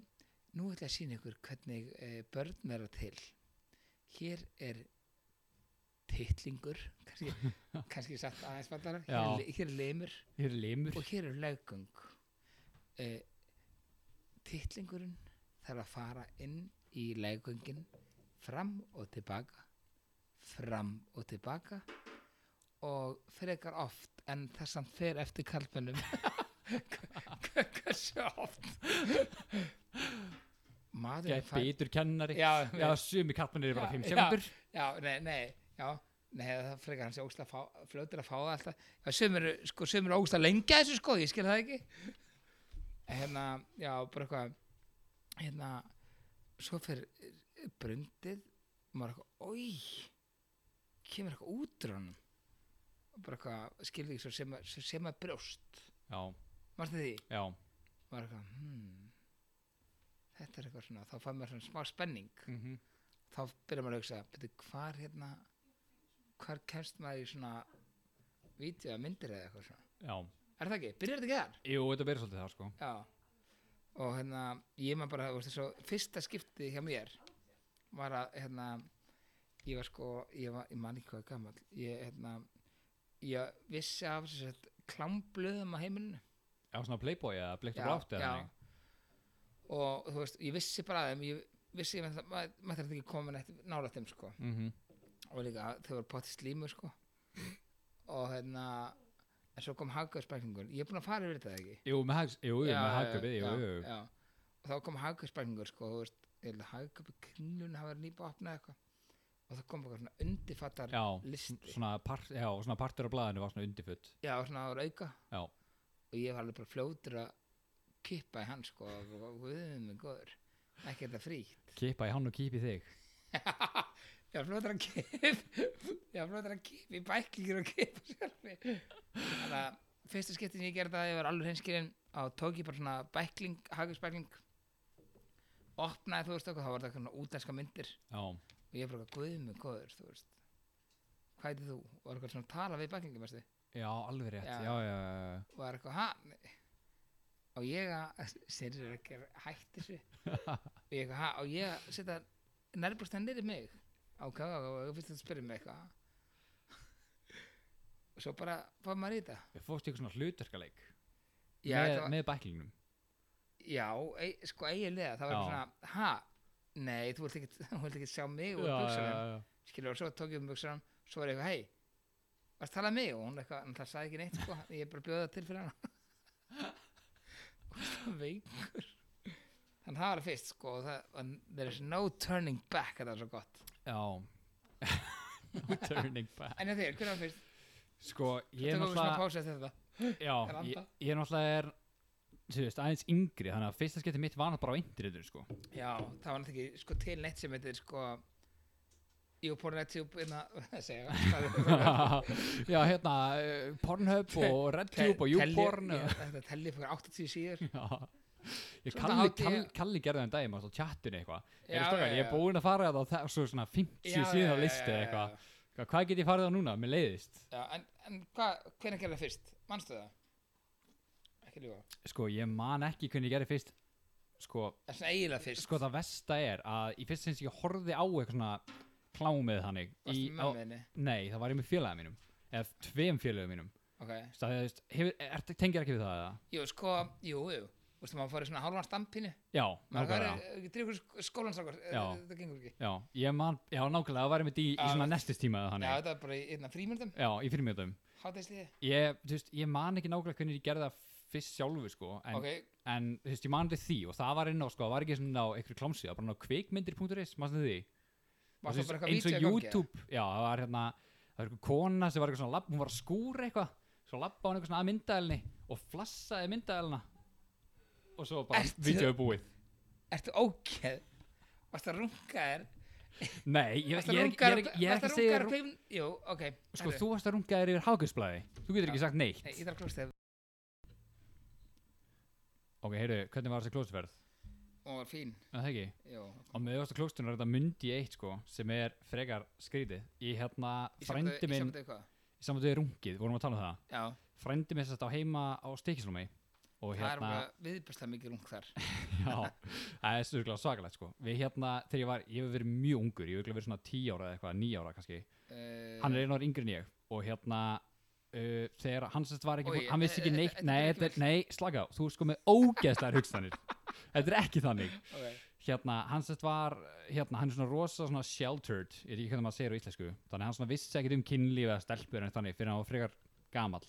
nú ætla ég að sína ykkur hvernig eh, börn vera til hér er titlingur kannski, kannski satt aðeins vandara hér, er Já. li- hér er limur hér er limur og hér eru leggöng uh, titlingurinn þarf að fara inn í leggöngin fram og tilbaka fram og tilbaka og frekar oft en þessan fer eftir kalpunum hversu oft maður gæt bitur kennari já, já, já, sumi kattmennir er bara Já, 5 já. sekundur já, nei, nei, já Nei, það frekar hans er ógsta fljótur að fá það alltaf. Já, sum eru, sko, sum eru ógsta lengja þessu, sko, ég skil það ekki. En Hérna, já, bara eitthvað, hérna, svo fyrir brundið, maður eitthvað, oi, kemur eitthvað út úr honum. Bara eitthvað, skil því, svo sem, svo sem að brjóst. já, Marstu því? já, Maður eitthvað, hmm, þetta er eitthvað svona, þá fær maður svona smá spenning mhm, þá byrjar maður að hugsa beti, hvar hérna hvar kemst maður í svona vídeo að myndir eða eitthvað svona já er það ekki, byrjar þetta ekki þar? jú, þetta verður svolítið það sko já og hérna, ég maður bara, þú veist þessu fyrsta skipti hjá mér var að hérna ég var sko, ég var, ég man ekki hvað gammal ég hérna ég vissi af þess að klámblöðum á heimilinu já, svona playboy eða bleikt og blátt eða þannig. og þú veist, ég vissi bara að þeim ég vissi, ég maður mað, mað þarf ekki komin nála þeim sko Mhm, og líka þau voru potið slímur sko og hérna en svo kom haggaðsbækningur, ég er búinn að fara yfir þetta ekki jú, með hags- jú, jú, Já, með já, hagköpið, jú, já, jú, jú. já. og þá kom haggaðsbækningur sko, þú veist, ég held að haggaðsbækningur kringlun hafa verið nýpa að opna eitthvað og það kom eitthvað svona undirfattar já, listi, svona, part, já, svona partur af blaðinu var svona undirfutt já, svona ára auka já, og ég var alveg bara fljótur að kippa í hann sko, og og guðum mig góður ekki þetta fríkt kipa í hann og kipa í þig ég var fljótur að kippa ég var fljótur að kippa í bæklingur og kippa sjálf þannig að fyrsta skiptin ég gerði það ég var alveg hreinskilinn og tók ég bara svona bækling, hagisbækling opnaði þú veist okkur, þá var það svona útlenska myndir já, og ég bara guðið mig góður, þú veist hvað heitir þú? og var eitthvað svona að tala við bæklingum veistu? já, alveg rétt Já. já, já, já, já. og var eitthvað, ha? Nei. og ég að sérir ekki að hætt þessu og ég eitthvað, ha? og ég að setja nærbúrstan niður í mig ok, ok, ok, og fyrst þetta spyrir mig eitthvað og svo bara fór maður í þetta Ég fórst í eitthvað svona hluturkaleik Já, með, þetta var- með bæklingnum Já, ei, sko eiginlega, það var Já. eitthvað svona, ha, nei, þú vilt ekki, þú vilt ekki sjá mig úr Já, buksunum, já, já. skilur, og svo tók ég um buksunum, svo var ég eitthvað, hei, varst að tala um mig, og hún eitthvað, en það sagði ekki neitt, sko, ég bara bjóði það til fyrir hana, og það veikur, þannig það var fyrst, sko, og það, and there is no turning back, þetta var svo gott, já. turning back en ég þér, hvernig var fyrst, sko, ég það tókum við er svona náttúrulega pása eftir þetta, já, er ég, anda. ég er náttúrulega er þú veist, aðeins yngri, þannig að fyrsta skipti mitt var náttúrulega bara á internetu, sko já, það var náttúrulega ekki, sko, til neitt sem heitir, sko, Jú, Pornetjúb, innan, hérna, segja, hvað er það? já, hérna, eh, Pornhub og RedTube og YouPorn og- Þetta telli fyrir 80 síður Já. Ég Svona kalli, átti ég- kalli, kalli gerði þann daginn á chattinu eitthvað Já, Ég, stokar, já, ég er já. búinn að fara það og svo svona 50 síðan á listi eða eitthvað Hva- Hvað get ég farið á núna? Mér leiðist Já, en, en hvað, hvernig gerði það fyrst? Manstu það? Ekki lífa Sko, ég man ekki hvernig ég gerði fyrst Sko, Það er svona eiginlega fyrst sko það versta er að í fyrst sinns ég horfði á eitthvað svona klámið þannig Varstu í, með á, mömmu þinni? Nei, það var ég með félagið mínum Eða tveim félagið mínum Ok Það er, hefur, er, tengir ekki við það eða? Jú, sko, jú, jú Þú veist, maður fór í svona hálfan stampinu Já, Maður eh, nákvæmlega er, drifur skólan sákar Já. Eh, Það gengur ekki Já, ég man, já, nákvæmlega, það var ég með í, í Já, svona þú- nestistíma eða Já, þannig þetta var bara í einna frímyndum Já, í fyrirmyndum Hátæðisliði ég, þú veist, ég man ekki nákvæmlega hvernig ég gerði það fyrst sjálfu sko en, ok, en þú veist, ég manið því og það var inn á sko, það var ekki svona á einhverju klámsið, það var bara inn á kveikmyndir.is, maður sem því var það bara eitthvað eins vídeo í og gangi, eða? YouTube, já, það var hérna það var einhver kona sem var eitthvað svona labb, hún var að skúra eitthvað, svo labba hún eitthvað svona að myndaðelni og flassaði myndaðelna og svo bara Ertu- vídeoið búið Ertu ógeð? Varst það rungaðir? Nei, ég, ég, Varst er- það ég, er- rungaðir? ég er ekki að segja rú- rungaðir? Jú, ok. sko, heyrðu. þú varst að runga þér yfir hágjöfsblæði þú getur ekki sagt neitt Nei, ég þarf að klósta þér. ok, heyrðu, hvernig var þessi klósturferð? Hún var fín. Er Það ekki? Jú. á meðvasta klóstunum er þetta myndi ég eitt sko sem er frekar skrítið ég hérna, Í sambandi- frændi minn Í sambandi við hvað? í saman við rungið, vorum að tala um það Já, frændi minn sérst á heima á stekisrúmi og það er hérna bara viðbærslega mikið rung þar. já, það er sérskilega svakalegt sko við hérna, þegar ég var, ég hef verið mjög ungur ég hef örugglega verið svona 10 ára eða eitthvað, 9 ára kannski Uh, hann er einu ára yngri en ég og hérna uh, þegar hann sérst var ekki, Oj, hann vissi ekki eh, eh, þetta neitt nei, er ekki þetta er- nei, slaka á, þú er sko með ógeðslegar hugstanir þetta er ekki þannig Okay. hérna, hann sérst var hérna, hann er svona rosa svona sheltered ég veit ekki hvernig maður segir á íslensku þannig að hann svona vissi ekkert um kynlíf eða stelpur en þannig fyrir hann var frekar gamall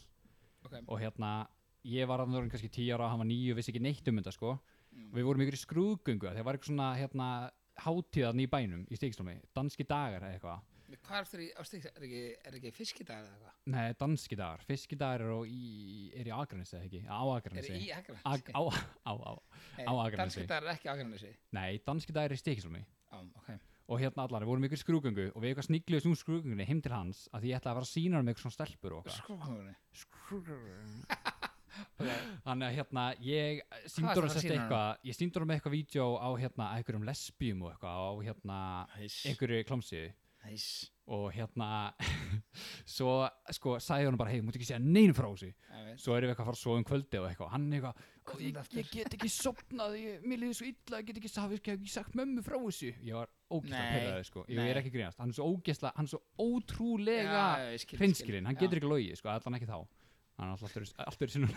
Okay. og hérna, ég var hann kannski 10 ára, hann var 9 og vissi ekki neitt um þetta sko Mm. og við vorum ykkur í skrúðgöngu þegar var eitthvað svona, hérna, hátíðan í bænum í stíkslómi, danski dagar eða eitthvað Hvað er það í ástík? Er ekki, er ekki fiskidagar eða eitthvað? nei, danski dagar, fiskidagar eru í, er í Akranesi eða ekki, á Er Akranesi í Akranesi? Eh, Ag, á, á, á, Nei, á Akranesi. Danskidagar er ekki á Akranesi. nei, danski dagar er í stíkslómi Já, ok. og hérna allar, við vorum ykkur skrúgöngu og við eitthvað snigluðum snú skrúgöngunni heim til hans að því ég ætlaði að fara að sína hann með eitthvað svona stelpur Sko, og okkar Skrúðunni. þannig að hérna, ég varstu síndur að hann sett sýna honum? eitthvað ég síndur hann með eitthvað vídeo á hérna að einhverjum lesbíum og eitthvað á hérna Hæs. einhverju klámsiðu Hæs. og hérna svo sko sagði hann bara, hei, mútu ekki segja neinum frá þessu svo erum við eitthvað að fara að sofa um kvöldi og eitthvað hann eitthvað, "Ó, Komdu ég, aftur." ég get ekki sopnað ég, mér liði svo illa, ég get ekki, hafi ekki, ekki sagt mömmu frá þessu ég var ógeðslega Nei, pyrraði sko, ég, ég er nei. ekki að grínast hann er svo ógeðslega, hann er svo ótrúlega skil, hreinskilinn, hann Já. getur ekki logið sko, allan ekki þá hann er alltaf alltaf, öðruvísi- alltaf í sinum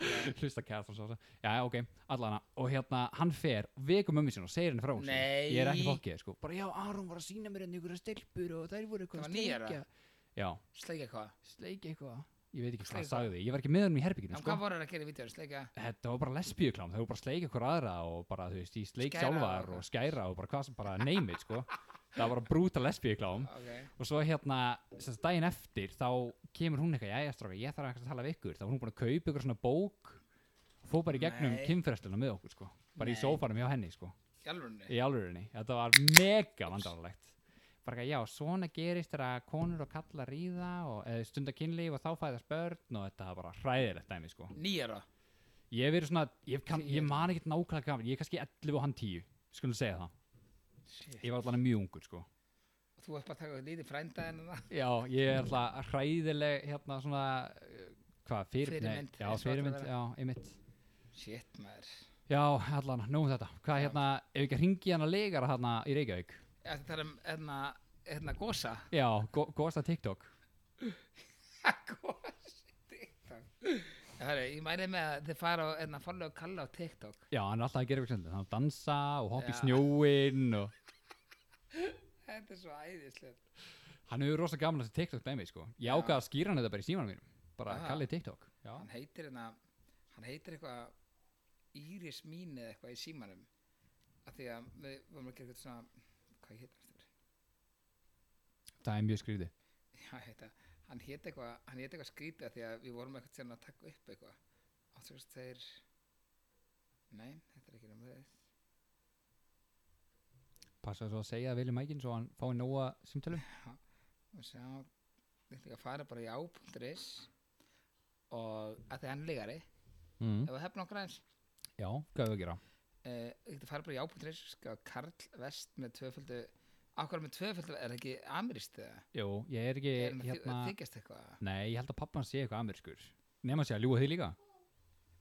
hlusta kæðast og svo já, já, ok, allan og hérna, hann fer, veku mömmu sinna og segir henni frá þessu Nei. ég er ekki fokkið, sko, bara já, Aron var að sína mér henni ykkur stelpur og þær voru eitthvað Það að var níu ára? sleikja." já, Sleikja hvað? sleiki eitthvað ég veit ekki hvað Sleikja. það sagði, ég var ekki með hann í En herbygginu sko. hvað voru það að gera í vídeo? Sleikja? þetta var bara lesbíuklám, þau voru bara að sleika ykkur aðra og bara, þú veist, í sleik Skæra sjálfar og- og skæra og bara hvað sem bara neymið, sko það var að brúta lesbíuklám Ok. og svo hérna, þess að daginn eftir þá kemur hún eitthvað, jæja stráka, ég þarf eitthvað að tala við ykkur, þá var hún búin að kaupa ykkur svona bók og fór bara í gegnum Nei. kynferðstilna með okkur, sko bara í Nei. sófanum hjá henni, sko Í alvörunni? í alvörinni, þetta var mega vandarlegt bara ekki að já, svona gerist þegar konur og kallar ríða og eða stunda kynlíf og þá fæðast börn og þetta var bara hræðilegt dæmi sko Nýjara? ég hef verið svona, ég, kann, ég Shit. man ekkert nákvæmlega gaman, ég er kannski 11 og hann 10 skulum segja það, Shit. ég var allan mjög ungur sko Þú ert bara að taka eitthvað lítið frænda en hérna. það? já, ég er alltaf hræðileg hérna svona, eh, hvað, fyrir, Fyrirmynd, nei, eins og já, ætla að fyrirmynd, vera. já, einmitt Shit, maður. já, allan, nóg um þetta, hvað Já. hérna ef ekki hringi hana legara hérna í Reykjavík Þetta tala um, hérna, hérna, gósa. já, go, góðasta TikTok Gósi, TikTok. Hörru, um. ég mæli með að þið fara og, hérna, follow og kalla á TikTok. Já, hann er alltaf að gera eitthvað sendið, hann er að dansa og hoppa í Já. snjóin og Þetta er svo æðislegt. hann hefur rosa gaman að þessi TikTok dæmi, sko. Ég ákvað að skýra hann þetta bara í símanum mínum, bara Aha. kallið TikTok. Já. Hann heitir, hérna, hann heitir eitthvað Íris mín eða eitthvað í símanum. Af því að við vorum að gera eitthvað svona, hvað heitir hann? Það er mjög skrýði. Já, heita, hann hétt eitthvað hann hétt eitthvað skrítið af því að við vorum eitthvað sérna að taka upp eitthvað áttúrst þeir nei, þetta er ekki um námið Passa svo að segja það vel í mækinn svo hann fái nóga simtölum. og sjá, við ætlum að fara bara í á.is og að því hann er lígari Mm. ef við hefum nokkur aðeins Já, hvað hefur að gera? uh, við ætlum að fara bara í á.is ská Karl Vest með tvöföldu ákvæður með tvöföldu, er það ekki amirist eða? Jú, ég er ekki, er hann að hérna, hérna... þykjast eitthvað? nei, ég held að pappan sé eitthvað amerískur. Nefn að sé að ljúa þig líka.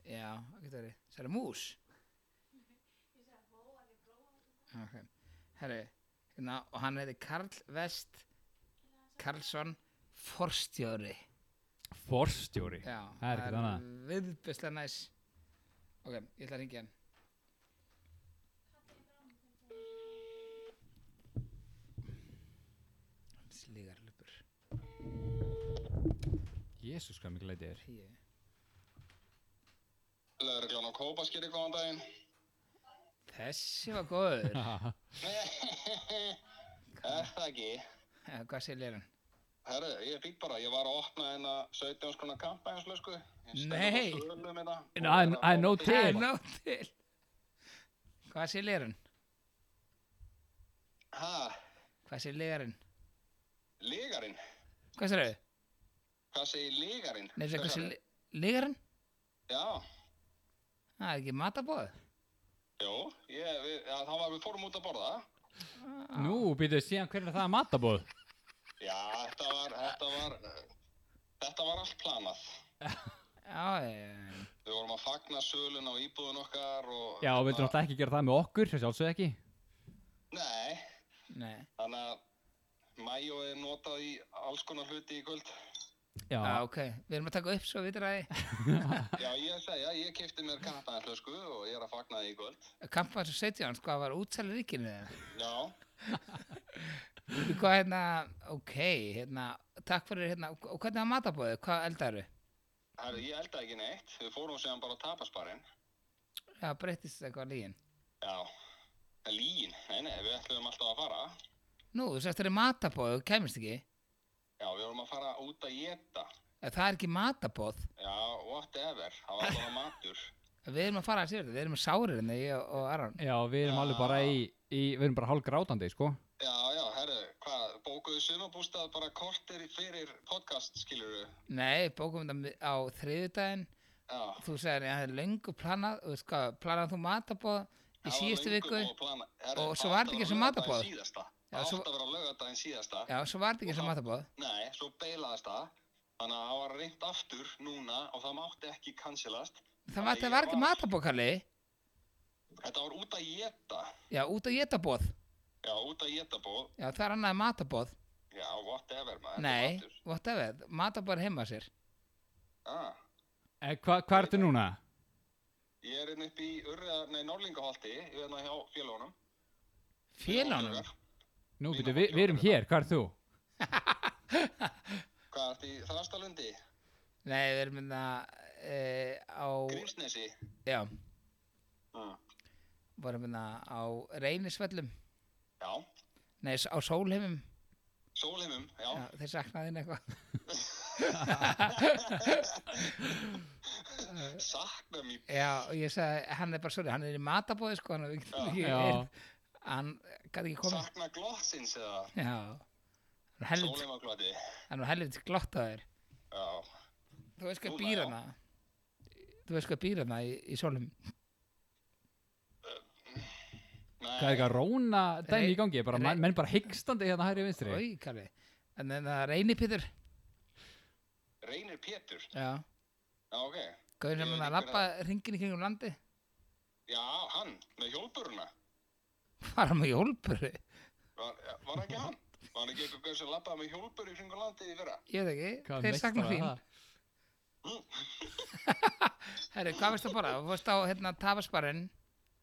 Já, það getur verið. Það er mús. Ok. Herri, hérna, og hann heiti Karl Vest Karlsson Forstjóri. Forstjóri. Já, Það er ekkert annað. viðbjörslega næs. Ok, ég ætla að ringja hann. Slígar lupur. Jésús, hvað mikið leitið er. Tíu. Lögreglan á Kópa skýri góðan daginn. Þessi var góður. Er það ekki? Eh, Hvað segir leirann? Herru, ég fík bara, ég var að opna hérna 17 skona kampanjanslösku. Nei. No, I- I know Það Til. er nóg til. Hvað segir leirann? Hæ, Hvað segir leirann? legarinn? Hvað segir þau? Hvað segir legarinn? Nei, hvað segir leirann? Já, Það Ah, er ekki matabóð. jú, ég, við, já, þá var við fórum út að borða. Ah. Nú, býtu, síðan hver er það að matabóð? Já, þetta var, þetta var, eh, þetta var allt planað. Já, ég... Við vorum að fagna sölun á íbúðun okkar og... Já, vildur náttúrulega ekki gera það með okkur, þess að sjálfsög ekki Nei, Nei. þannig að Mæjó er notað í alls konar hluti í kvöld. Já, Já, Ah, ok. Við erum að taka upp svo vitur að Já, ég er að segja, ég kefti mér kampanjanslösku og ég er að fagna því í kvöld. kampan sem 17, sko, var útsæli ríkinu þeim. Já, Þú hvað, hérna, ok, hérna, takk fyrir, hérna, og og hvernig var matabóðið? Hvað eldaru? herru, ég elda ekki neitt. Við fórum séðan bara á tapasparinn. Já, breyttist eitthvað lígin. Já, en lígin, nei, nei, við ætlum alltaf að fara. Nú, þú sagðist þetta er matabóð, þú kemist ekki. Já, við vorum að fara út að geta. Ef það er ekki matabóð, Já, whatever, það var bara matur. við erum að fara að sér þetta, við erum sárir en ég og- og Aron. já við erum alveg bara í, í Við erum bara hálf grátandi, sko Já, já, herru, hvað, bókuðu sumabústað bara kortir fyrir podcast, skilurðu? Nei, bókum þetta á þriðudaginn, Já. þú sagðir að það er löngu planað, og sko, planað þú matabóð í Það var síðustu löngu viku. búið að plana- herru, og það svo átti var að þetta vera ekki sem laugardaginn matarboð. síðasta. Já, Það svo- átti að vera lögadaginn síðasta. Já, svo var þetta ekki sem Og þá- matabóð. Nei, svo beilaðist það. Þannig að það var reynd aftur núna og það mátti ekki cancelast. Það Nei, var, það ég var ekki var- matabóð, Kalli. Þetta var út að geta. Já, út að geta bóð. Já, út að geta bóð. Já, það er annað en matabóð. Já, whatever, maður. þetta er Nei, matur. whatever, matabóð er heima sér. Ah, eh, hva, Hvað ertu núna? ég er einn upp í Urða, nei, Norlingaholti, ég er hérna hjá félagunum. Félánum. Nú, býtu, við, við erum hér, hvað ert þú? Hvað ert í Þrastalundi? Nei, við erum hérna e, á, Grímsnesi? já, Ah. vorum hérna á reynisvöllum. Já, Nei, s- á sólheimum. sólheimum, já. Já, þeir saknaði þín eitthvað. Saknum í... Já, og ég sagði, hann er bara svolítið, hann er í matabóði, sko, hann er Já. ekki, Já. hann gæti ekki komið. Sakna glossins eða Já, hann er helvit, sólheimaglöti. hann er helvit glott á þér. Já, Þú veist hvað Núna, býr já. hana, þú veist hvað býr hana í, í sólum. nei. Hvað er eitthvað róna dæmi Nei, í gangi? Bara, nei. menn, menn bara hyggstandi hérna hægri vinstri Í, kalli, en þannig að reynipýtur, Reynir Pétur? já, Já, ok. gauðin Ég sem veit hann að ekki hver lappa ringin í kringum landi, Já, hann, með hjólburuna. var hann með hjólpuru, Var, var ekki hann? Var hann ekki eitthvað gaur sem lappaði með hjólbur í kringu landið í fyrra? ég veit ekki, Hvað þeir meistrar sakna var þín. það? Herri, hvað veist að borða, þú veist á hérna tafasparinn,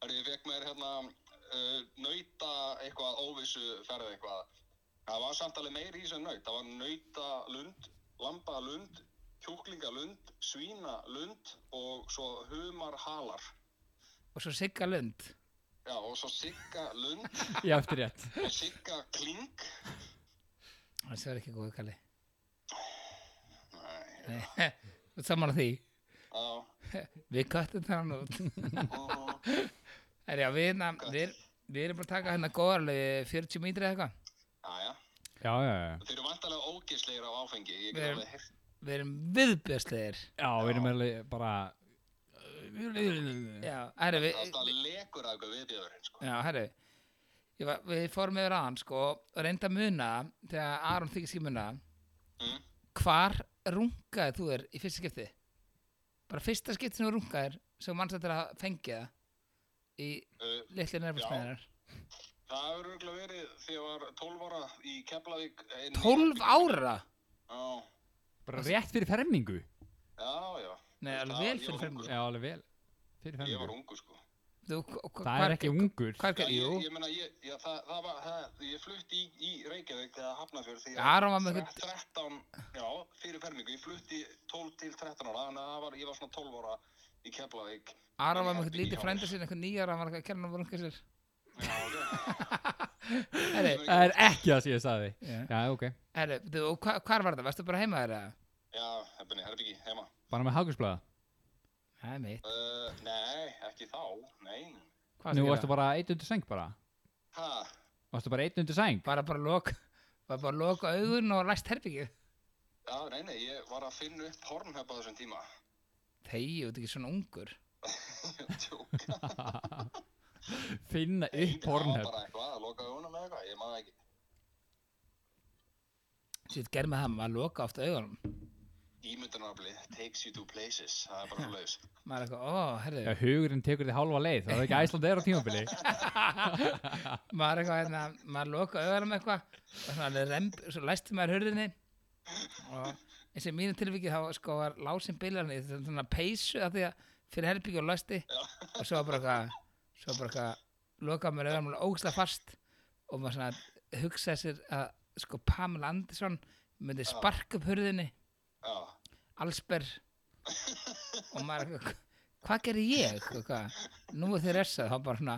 Þegar ég fekk mér hérna uh, nauta eitthvað óvissu ferð eitthvað. Það var samt alveg meiri í þessu en naut. Það var nauta lund, lamba lund, kjúklinga lund, svína lund og svo humar halar. og svo Sigga Lund, Já, og svo sigga lund Já, eftir rétt og sigga kling. þessi var ekki góð, kalli. Nei, Nei, þú ert sammála því. já, Við köttum það nú. mhm. Er, já, við, na, við, við erum bara að taka hérna góðar alveg 40 mítri eða eitthvað. Jæja. Já, já, já Þeir eru vantarlega ógisleir af áfengi. Ég Við get erum- alveg heyrt. Við erum viðbjörnslegir. Já, við erum alveg bara Já, herri, við, Alltaf lekur að eitthvað viðbjöðurinn, sko. Eh, já, herri, ég var, við fórum yfir aðan sko og reynda að muna, þegar Aron þykist ekki muna, Mm. hvar rungaði þú þér í fyrsta skipti? Bara fyrsta skipti sem þú rungaðir, sem manns þetta að fengja í Uh, litlu nefnarstæðinar. það hefur örgulega verið þegar ég var 12 ára í Keflavík. einn- 12 ára? Já, bara rétt fyrir fermingu já, já. Nei, Það- alveg vel ég fyrir var ungur, fengu. Já, alveg vel Fyrir Ég var fermingu ungu, sko. Þú, hva- hva- Það hvar- er ekki ungur Hvað Já, gerði, ég, jú? ég meina, ég, já, það, það var, það, ég flutti í, í Reykjavík eða Hafnarfjörð því Aron var með þre- 13, já, fyrir fermingu, ég flutti 12 til 13 ára, þannig að það var, ég var svona 12 ára í Keflavík Aron var með Ég eitthvað lítið hjá frænda mér. sinni, eitthvað nýjar, hann var eitthvað að kenna hann að runga sér. Já, ok. Herri, Það er ekki það sem ég sagði Já. Já, ok herri, þú, og hva, hvar var það? Varstu bara heima þér eða? Já, hefðinni, herbyggi, heima. Bara með hagusblöða Það er mitt. Uh, nei, ekki þá, nei. Hvað varstu Nú að varstu gera? bara eitt undir seng bara Ha, Varstu bara eitt undir seng Bara bara lok, var bara að loka augun og læst herbyggið. já, nei, nei, ég var að finna upp hornhöpa á þessum tíma. Þegi, þú ert ekki svona ungur. Tjók. Finna upp Það var hornhöf bara eitthvað, að loka augunum með eitthvað, ég maður ekki. Sýtt gerð með það, maður loka ofta augunum. Ímyndunarafli takes you to places, það er bara laus. Maður er eitthvað, ó, herri, Já, hugurinn tekur þig hálfa leið Það er ekki Æsland er á tímabili maður er eitthvað, hérna, maður loka augunum eitthvað, og svona alveg remb, svo læsti maður hurðinni, og eins og í mínu tilviki þá sko var lásin bilarni, þetta er svona peysu af því að fyrir herbyggið og læsti, og svo var bara eitthvað, svo var bara eitthvað lokaði mér auðvitað ógæslega fast og maður svona hugsaði sér að sko Pamela Andersson myndi sparka upp hurðinni Já, allsber og maður eitthvað, hvað gerði ég Hvað- hvað? nú er þið ressað þá bara svona,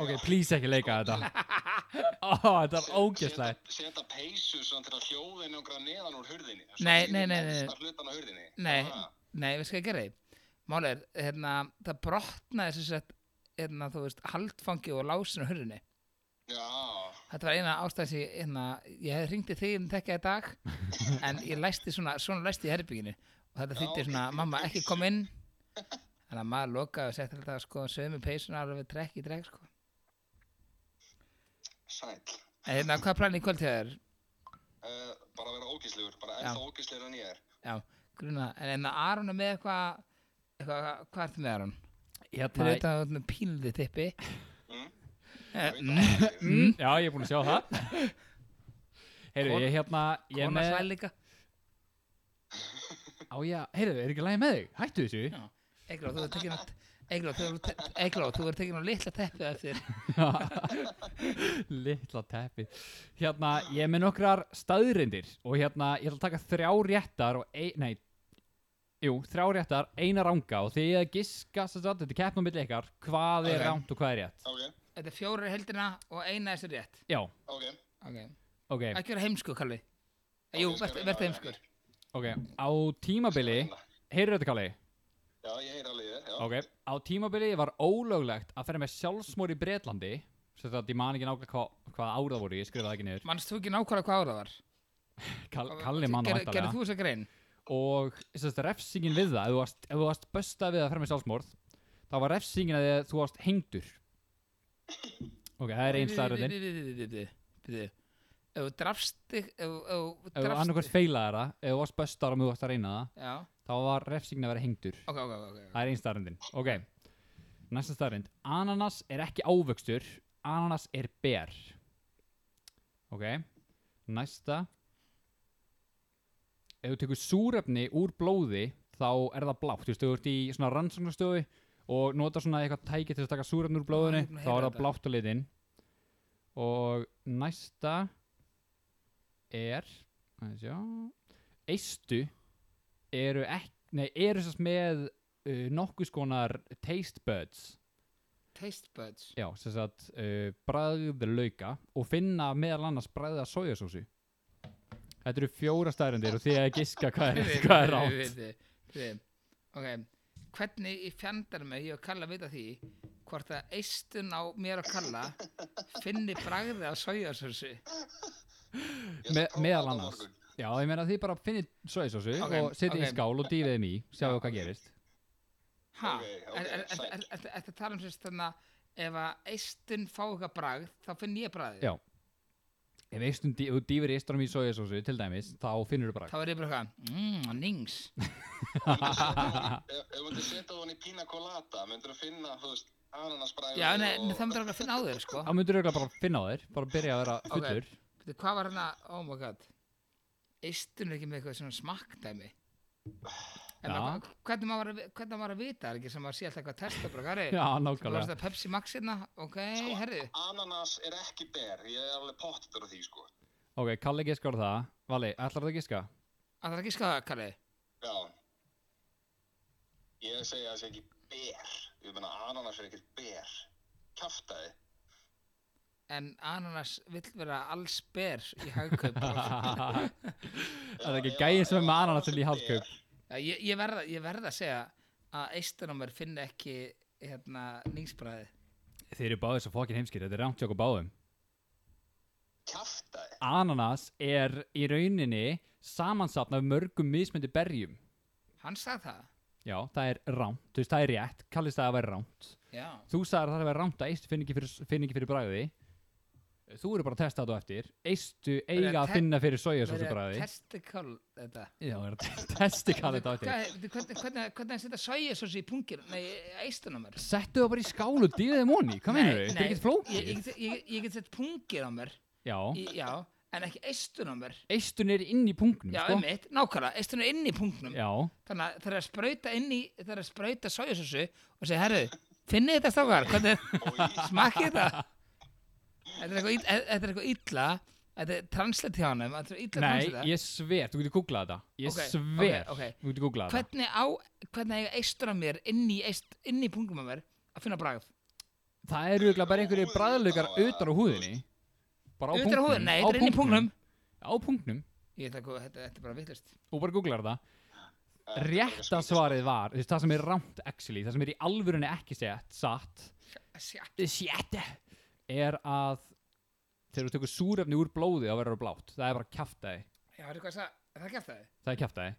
Ok, please ekki leika þetta Ó, þetta er ógjörslega Seta- Seta peysu svona til að hljóðinu og græða neðan úr hurðinni. Nei, nei, nei, nei. Það hlutan á hurðinni. nei, Ah, nei við skal gera því málið er, hérna, það brotnaði sem sagt, hérna, þú veist, haldfangi og lásin á hurðinni Já, Þetta var eina ástæðan sem ég- hérna, ég hefði ringti þig um tekja í dag en ég læsti svona, svona læsti í herbygginu og þetta þýtti Já, svona, ok. mamma ekki kom inn þannig að maður lokaði og setti þetta sko sömu peysuna alveg trekk í trekk sko. sæl. En hérna, hvað planið í kvöld þegar? Uh, bara vera ógíslegur, bara Já. ennþá ógíslegur en ég er. Já, gruna, en hérna Aron er með eitthvað, eitthva, hvað ertu með Aron? Til Hérna, þetta að þú ert með pínlítið tippi Mm? Eh, Ég veit mm, það ekki. mm, já, ég er búin að sjá það Heyrðu, Kon- ég hérna ég er Kona með, sæl líka Á, já, heyrðu, er ekki lægi með þig? Hættu þessu Já. Egló, þú ert tekin á- Eygló, þú ert- Eygló, þú ert tekin á litla teppið eftir Litla teppi Hérna, ég er með nokkrar staðrindir og hérna, ég ætla að taka þrjá réttar og ein, nei, jú, þrjá réttar, eina ranga og því að giska, sem sagt, þetta er keppnum milli ykkar hvað er Ok. rangt og hvað er rétt Ok, Þetta er fjórar í heldina og eina þessu rétt Já, ok. okay. ok, Ekki vera heimskur, Kalli Jú, Ok, verð- skal verð reyna heimskur ok á tímabili, heyrðu þetta kalli Hérna. Já, ég heyr alveg, þig, já. ok, á tímabili var ólöglegt að ferja með sjálfsmór í Bretlandi sem sagt, ég man ekki nákvæmlega hvað, hvað árað voru, ég skrifaði það ekki niður Manst þú ekki nákvæmlega hvað ára það var? Kal, Kalli mann Gerð- væntanlega. Gerðu þú þess að grein? og sem sagt, refsingin við það ef þú varst, ef þú varst böstað við að fremja sjálfsmorð þá var refsingin að þið- þú varst hengdur ok, það er einn staðröndin staðröndin Ef þú drafst þig- Ef þú- ef ef þú annarkvæmst feilaði það, ef þú varst böstað um þú varst að reyna það, Já, þá var refsingin að vera hengdur ok, ok, ok, ok það er einn staðröndin, ok næsta staðrönd, ananas er ekki ávöxtur ananas er ber ok næsta ef þú tekur súrefni úr blóði þá er það blátt, þú veist, þú ert í svona rannsóknastöðu og nota svona eitthvað tæki til að taka súrefni úr Ah, ég blóðinu, er búinn að heyra þá er það þetta. blátt á litin og næsta er aðeins sjá, eistu eru ekki, nei, eru sérst með uh, nokkuð skonar taste buds Taste buds já, sérst að uh, bræðið lauka og finna meðal annars bræðið að sojasósu Þetta eru fjóra stærendir og því að giska hvað er, hvað sko, er Við- rátt við- við- við- Ok, hvernig í fjandarum er ég og Kalla vita því hvort að eistun á mér og Kalla finni bragðið af sojasósu Ég skal Me, prófa meðal þetta á annars morgun. Já, ég meina því bara finnið sojasósu Ok, og setja ok. í skál og dýfið þeim í sjáðu hvað gerist Ha, Ok, ok, sæll. þetta er að tala um sérst þannig að ef að eistun fá eitthvað bragð, þá finn ég bragðið. Já. Ef eistum, dý- ef þú dýfir eistunum í sojasósu til dæmis, þá finnur þú bara Þá er ég bara eitthvað, mmm, nings. Ef ef þú myndir setja hún í pina colada, myndir þú finna, þú veist, ananasbræði Já, nei, nei, það myndir okkur að finna á þér, sko. Þá myndur auðvitað bara finna á þér, bara byrja að vera Ok. fullur Veitu, hvað var hérna, oh my god, eistun er ekki með eitthvað svona smakkdæmi. En Já. maður- hvernig maður, var að vi- hvernig maður var að vita, er ekki sem maður sé alltaf eitthvað að testa, bara, hvað er Já, Þú varst nákvæmlega að Pepsi Max hérna, ok, Sko, herðu, Ananas er ekki ber, ég er alveg pottur á því, sko. Ok, Kalli giskar það Vali, ætlar það að giska? að það er ekki skáða, Kalli. Já, Ég segi að það sé ekki ber. Ég meina ananas er ekkert ber. Kjaftaði. En ananas vill vera alls ber í hagkaup. Það er ekki Ef- gæðið ef- sem er ef með ananas ananas í er haldkaup ber, Já, ég, ég verða verð að segja að eistunumar finn ekki hérna, nýsbræði. Þeir eru báðið svo fokkin heimskir, þetta er rámt hjá okkur báðum Kjaftaði. Ananas er í rauninni samansapn af mörgum mismyndi berjum Hann sagði það. Já, það er rámt, þú veist það er rétt, kallist það að vera rámt Já. Þú sagðir að það er að vera rámt að eistu finn ekki fyrir, finn ekki fyrir bragði Þú eru bara að testa þetta á eftir Eistu Verið eiga að að te- finna fyrir sojasósu Verið að bragði testa kál þetta. Já, það er að testi hvað þetta á eftir Hvað- Hvernig, hvernig, hvernig, hvernig setja sojasósu í pungir? Nei, eistunumar. Settu það bara í skál og dýðu þeim onni, hvað meinar þau? Þetta er ekkert Ég, flókið ég, get- ég, ég get sett pungir á mér. Já, Í, já, en ekki eistun á mér. eistun er inn í punktnum, Já, um- sko einmitt, nákvæmlega, eistun er inn í pungnum. Já, Þannig að það er að sprauta inn í, það er að sprauta sojasósu og segja, herru, finnið þetta strákar, hvernig, Og í smakkið þetta? Þetta er eitthvað, ill- e- þetta er eitthvað illa, þetta er translate hjá hann, þetta er illa nei, translate. ég sver, þú getur googlað þetta Ég Ok, sver, ok, ok. þú getur googlað þetta Hvernig á, hvernig eiga eistun á mér inn í, eist, inn í pungnum á mér að finna bragð? Það eru örugglega bara einhverju Húðin bræðlökar á- utan á húðinni Bara á Utan á punktnum, húðinni? Nei, á þetta er inn í punktnum. Á punktnum, Ég ætla ekki, að- þetta, þetta er bara vittlust. og bara googlar það Þetta er rétta eitthvað skrítið. svarið var þú veist, það sem er rámt actually, það sem er í alvörunni ekki sett satt, sétt er að þegar þú tekur súrefni úr blóði þá verður það blátt, það er bara kjaftaði Já, þetta er hvað það, það er kæftæði. það er kjaftaði,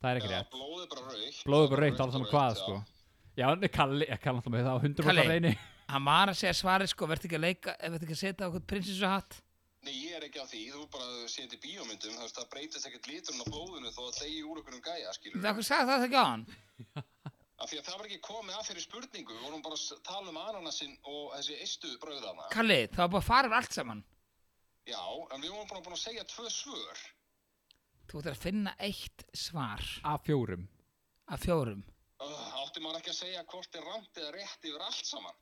það er ekki Já, rétt Blóðið bara raukt. blóði bara reynt alls bara saman hvað rautt, sko já. já, en Kalli, ég kalli alltaf með það á 100% Kalli. reyni Hann var að segja svarið, sko, verður ekki að leika, verður ekki að setja á okkur prinsessuhatt. Nei, ég er ekki að því, þú bara seti bíómyndum, þú veist, það breytist ekkert liturinn á blóðinu þó að degi úr okkur um gæja, skilur. Það sagði það ekki á hann. Af því að það var ekki komið að fyrir spurningu, við vorum bara að s- tala um ananasinn og þessi eistu bröðana. Kalli, það var búið að fara yfir allt saman. Já, en við vorum bara búin að segja tvö svör. Þú ættir að finna eitt svar af fjórum af fjórum. Uh, átti maður ekki að segja hvort er rangt eða rétt yfir allt saman.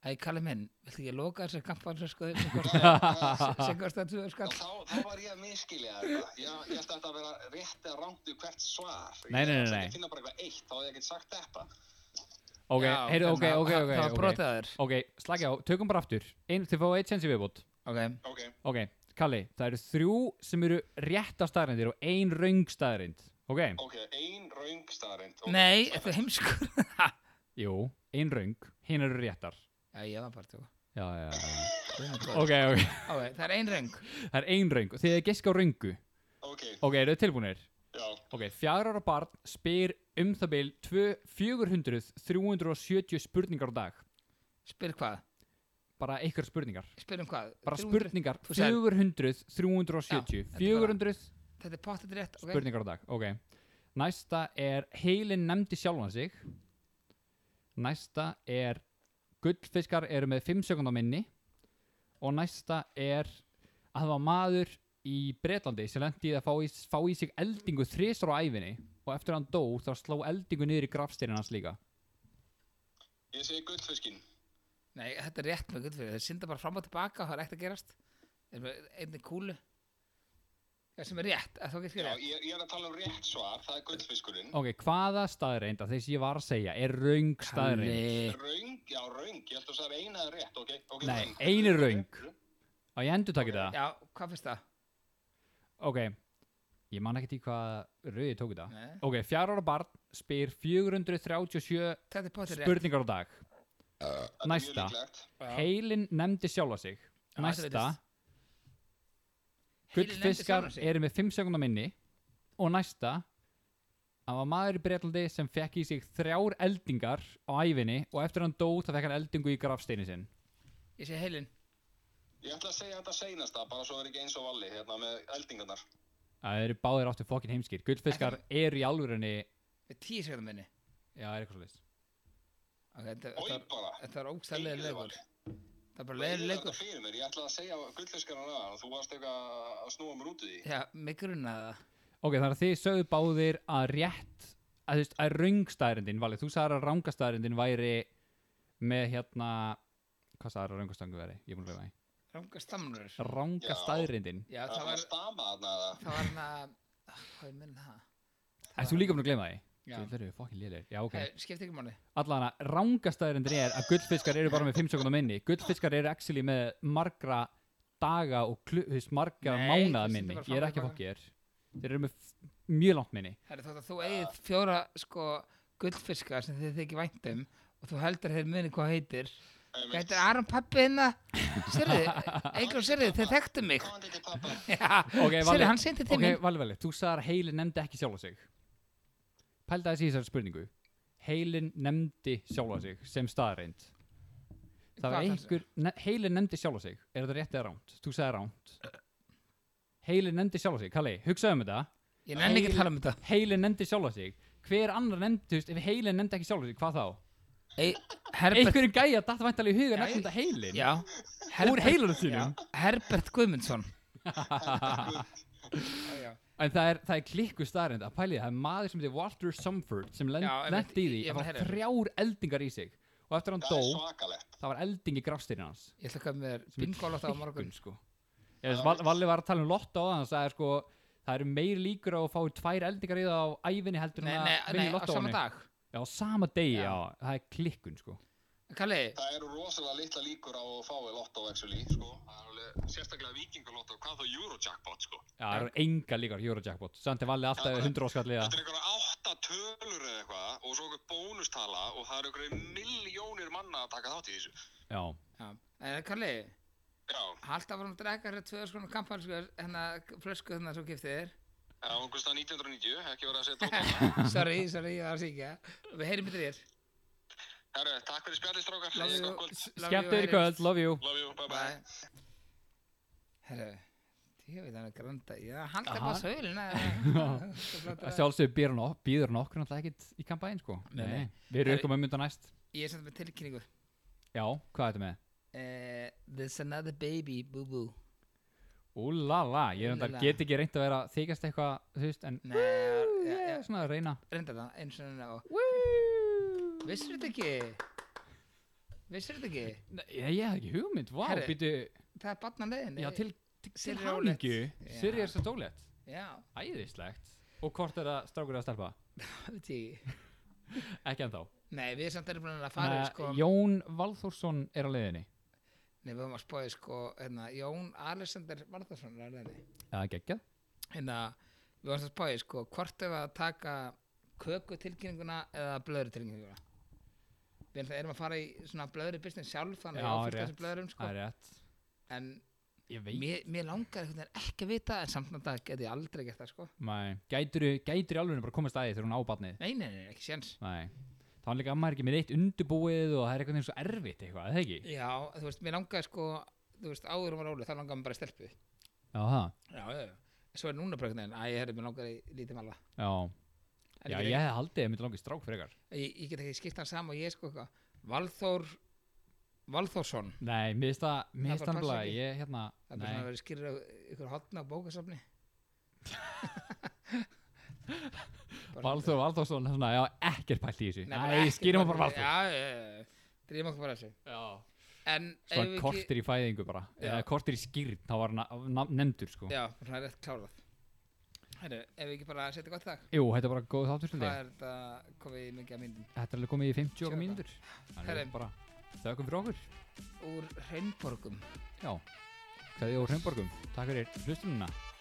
Æ, Kalli minn, viltu ekki loka þessar kampanjar sko sem Já, kosti- já, sem kostar tvö skall? þá, þá var ég að miskilja þetta. Já, ég held að þetta að vera rétt eða rangt yfir hvert svar. Nei, nei, nei, Ég ætla nei. ekki að finna bara eitthvað eitt, þá hef ég ekkert sagt þetta. ok, Já, heyrðu, ok, þannig að ok, það- ok, Það var ok, brotið að þér. ok, slagi á, tökum bara aftur Ein, þið fáið eitt sensi viðbútt Ok, Ok, ok, Kalli, það eru þrjú sem eru rétta staðrindir og ein röng staðrind ok, ok, ein raung staðarind. nei, þetta er heimskur. jú, ein röng hinn eru réttar Já, ég var bara tjóka. já, já, já. Ok, ok, ok, það er ein röng. það er ein röng og þið er giska á röngu Ok, ok, eru þið tilbúinir? já, ok, fjár ára barn spyr um það byl 400-370 spurningar á dag Spyr hvað? bara einhver spurningar Spyr um hvað? bara 300? spurningar, Þú sagðir- Já, þetta er 400-370 bara- 400 Þetta er pottet rétt, ok? spurningar á dag ok, næsta er heilin nefndi sjálfan sig næsta er gullfiskar eru með 5 sekundar minni og næsta er að það var maður í Bretlandi sem lendi í að fá í, fá í sig eldingu þrisar á æfinni og eftir að hann dó þá sló eldingu niður í grafstyrinn hans líka ég segi gullfiskinn. Nei, þetta er rétt með gutt fyrir. Þeir synda bara fram og tilbaka og það er ekkert að gerast. Þeir eru með einni kúlu. Það sem er rétt, að þú getur Já, rétt. ég, ég er að tala um rétt svar, það er gullfiskurinn. ok, hvaða staðreind af þess ég var að segja er raung staðreind Kalli. Raung, já, raung, ég held að það er eina eða rétt, ok? okay Nei, röng. ein er röng. og ég endur takið það Já, hvað finnst það? ok, ég man ekki til hvað rauði tók þetta Nei. ok, fjár ára barn spyr 437 Þetta er pottet rétt. spurningar á dag Þetta er mjög Næsta. líklegt. Já. heilin nefndi sjálfa sig Já, þetta næsta, virðist- Heilinn nefndi gullfiskar sjálfan sig. eru með 5 sekundar minni og næsta að var maður í Breitlandi sem fekk í sig þrjár eldingar á æfinni og eftir að hann dó það fekk hann eldingu í grafsteinu sinn Ég segi heilin. Ég ætla að segja þetta seinasta, bara svo það er ekki eins og valli, hérna, með eldingarnar. það eru báðir áttu fokkin heimskir gullfiskar eru í alvörunni Með tíu sekundum minni. já, er eitthvað svolítið Ok, þetta, Oi, þetta, var- bara. þetta var ógstæðlega Eiginlega leikur. var- Það er bara Ég leiðin er þetta leikur. fyrir mér, ég ætla að segja gullfiskarinn að þú varst eitthvað að snúa mér út í því. Já, mig grunnaði það. ok, þannig að þið sögðu báðir að rétt að þú veist, að raungstæðrindin valið, þú sagðir að rángastæðrindin væri með hérna hvað sagðir að raungastæðrindin væri, ég er búin að reyna Ranga stamnur. það rángastæðrindin, Já, Það það var var, að stama þarna eða? það var hann að, hvað er minn það? er þú líka búin að gleyma því? Já. Þeir eru fokkin lélir Já, ok Hey, skiptir ekki máli Allan að rangastæðurinn er að gullfiskar eru bara með 5 sekundar minni Gullfiskar eru actually með margra daga og klu, þú veist, margra Nei, mánaða það minni stendur bara Ég er fram í ekki að bara. fokki þér Þeir eru með f- mjög langt minni Herri, þótt að þú eigið fjóra sko gullfiska sem þið þykir vænt um og þú heldur að þeir muni hvað þú heitir Þetta er Aron pappi hérna Sérðu, Eikur og Sérðu, þeir þekktu mig Komandi til pappa. Já, Ok, Sérðu, Valli, hann sendi til ok, okay. Valli, Valli Þú sagðar að heilin nefndi ekki sjálfa sig Pælda þessi í þessari spurningu Heilin nefndi sjálfa sig sem staðreind Það var Hvað þarf- einhver ne Heilin nefndi sjálfa sig Er þetta rétt eða ránt? Þú sagði ránt Heilin nefndi sjálfa sig Kalli, hugsaðu um þetta mín Ég nenni ekki að tala um þetta heilin nefndi sjálfa sig hver annar nefndi, þú veist, ef heilin nefndi ekki sjálfa sig hvað þá? Ei, Herbert, einhverju gæja datt væntalega í huga Gæi? nefnda heilin já, úr Herbert, heilunum sínum Herbert Guðmundsson en það er, það er klikku starrend að pæli það er maður sem heitir Walter Sumford sem lend, Já, einmitt, lendi í því ég að var að fá heyra um. þrjár eldingar í sig og eftir hann Það dó er svakalegt. það var elding í grafstyrinn hans Ég ætla að koma með sem er bingólóta á morgun klikkun, sko. Ég veist, Val- Valli var að tala um lotta á það hann sagði sko það eru meir líkur á að fá tvær eldingar í það á ævinni heldur Nei, en nei, að nei, vinna í á lotta á sama dag á sama Já. degi, já, það er klikkun sko Kalli, Það eru rosalega litla líkur á að fá við lotto actually, sko. Það er alveg sérstaklega vikingalotto, hvað þá Eurojackpot, sko. Já, það eru enga líkar Eurojackpot Samt er valið alltaf Já, yfir 100 áskall Þetta liða er einhverja átta tölur eða eitthvað og svo einhver bónustala og það eru einhverju miljónir manna að taka þátt í þessu. Já, já, en Kalli Já, Halda var hann að drekka hérna tvöður skona kampan hérna flösku hérna svo giftið þér það var einhverstað 1990, ekki verið að setja út á það. Sorry, sorry, ég var að syngja Við heyrim yfir þér Herru, takk fyrir spjallið, strákar. Love you, Góð kvöld. love you, skemmt yfir heyri. í kvöld, love you Love you, bye bye. Bye. Herru, ég veit hann er grönda Ég halda Aha. bara söluna Að Sjálfsögur býður hann ok- býður hann okkur náttúrulega ekkit í kampæn sko Nei, nei. Við Er- erum ykkur með mynda næst Ég er samt með tilkynningu Já, hvað er þetta með? uh, There's another baby, boo boo Úlala, ég reyndar Úlala. get ekki reynd að vera að þykjast eitthvað, þú veist, en Nei, já, já, ég er svona að reyna reynda það, eins og enn og Vissir þetta ekki? Vissir þetta ekki? Nei, Ég ég hef ekki hugmynd, vá, Herri, býtu Það er barnan leiðin Já, til, til, til Sirrý Rólett. hálíku Já. Sirri er svo dólett Já, Æðislegt Og hvort er það strákur eða stelpa? það veit ég ekki. Ekki ennþá Nei, við samt erum búin að fara Þannig í, að sko, Jón Valþórsson er á leiðinni Nei, við höfum að spáði sko, hérna, Jón Alexander Vardarsson er alveg Já, geggjað hérna, við höfum að spáði sko, hvort ef að taka köku tilkynninguna eða blöðru tilkynninguna við erum- erum að fara í svona blöðru business sjálf, þannig Já, að áfylgta rétt. þessu blöðrum sko, Það er rétt en Ég mér, mér langar einhvern veginn ekki að vita en samt náttúrulega geti ég aldrei gert það sko Mæ, gætirðu, gætirðu alveg bara komast að því þegar hún á barnið nei, nei, nei, ekki séns Mæ, þá er líka að maður er ekki með eitt undirbúið og það er eitthvað eins og erfitt eitthvað, eða ekki? já, þú veist, mér langar sko þú veist, áður um að rólu, þá langar mér bara í stelpu já, Já, það, já, já, svo er núna bara einhvern veginn að ég herri, mér langar í lítið malla já En Já, get ég hef haldið að ég myndi langið strák fyrir ykkar ég, ég get ekki skipt hann saman og ég sko eitthvað Valþór Valþórsson Nei, mér finnst það, Það mér finnst bara það passar bara, ekki. ég, hérna, það er bara svona að nei vera skýrur á ykkur hotna á bókasafni Bara- Valþór, Valþórsson, svona, já, ekkert pælt í þessu Nei, bara Nei, ekkert skýrum bara- bara Valþór já, já, já, drýjum okkur bara þessu Já en eigum við Svona ekki- kortir í fæðingu bara, Já. eða kortir í skýrn, þá var hann nefndur, sko já, það er rétt klárað Heru, ef við ekki bara setja gott þag Jú, þetta er bara góð þáttur hvað svolítið er þetta komið í mikið af myndum Þetta er alveg komið í 50 okkar Sjötta. mínútur Þannig Herri. við bara þökkum fyrir okkur úr Hreinborgum Já Kveðið úr Hreimborgum Takk fyrir hlustununa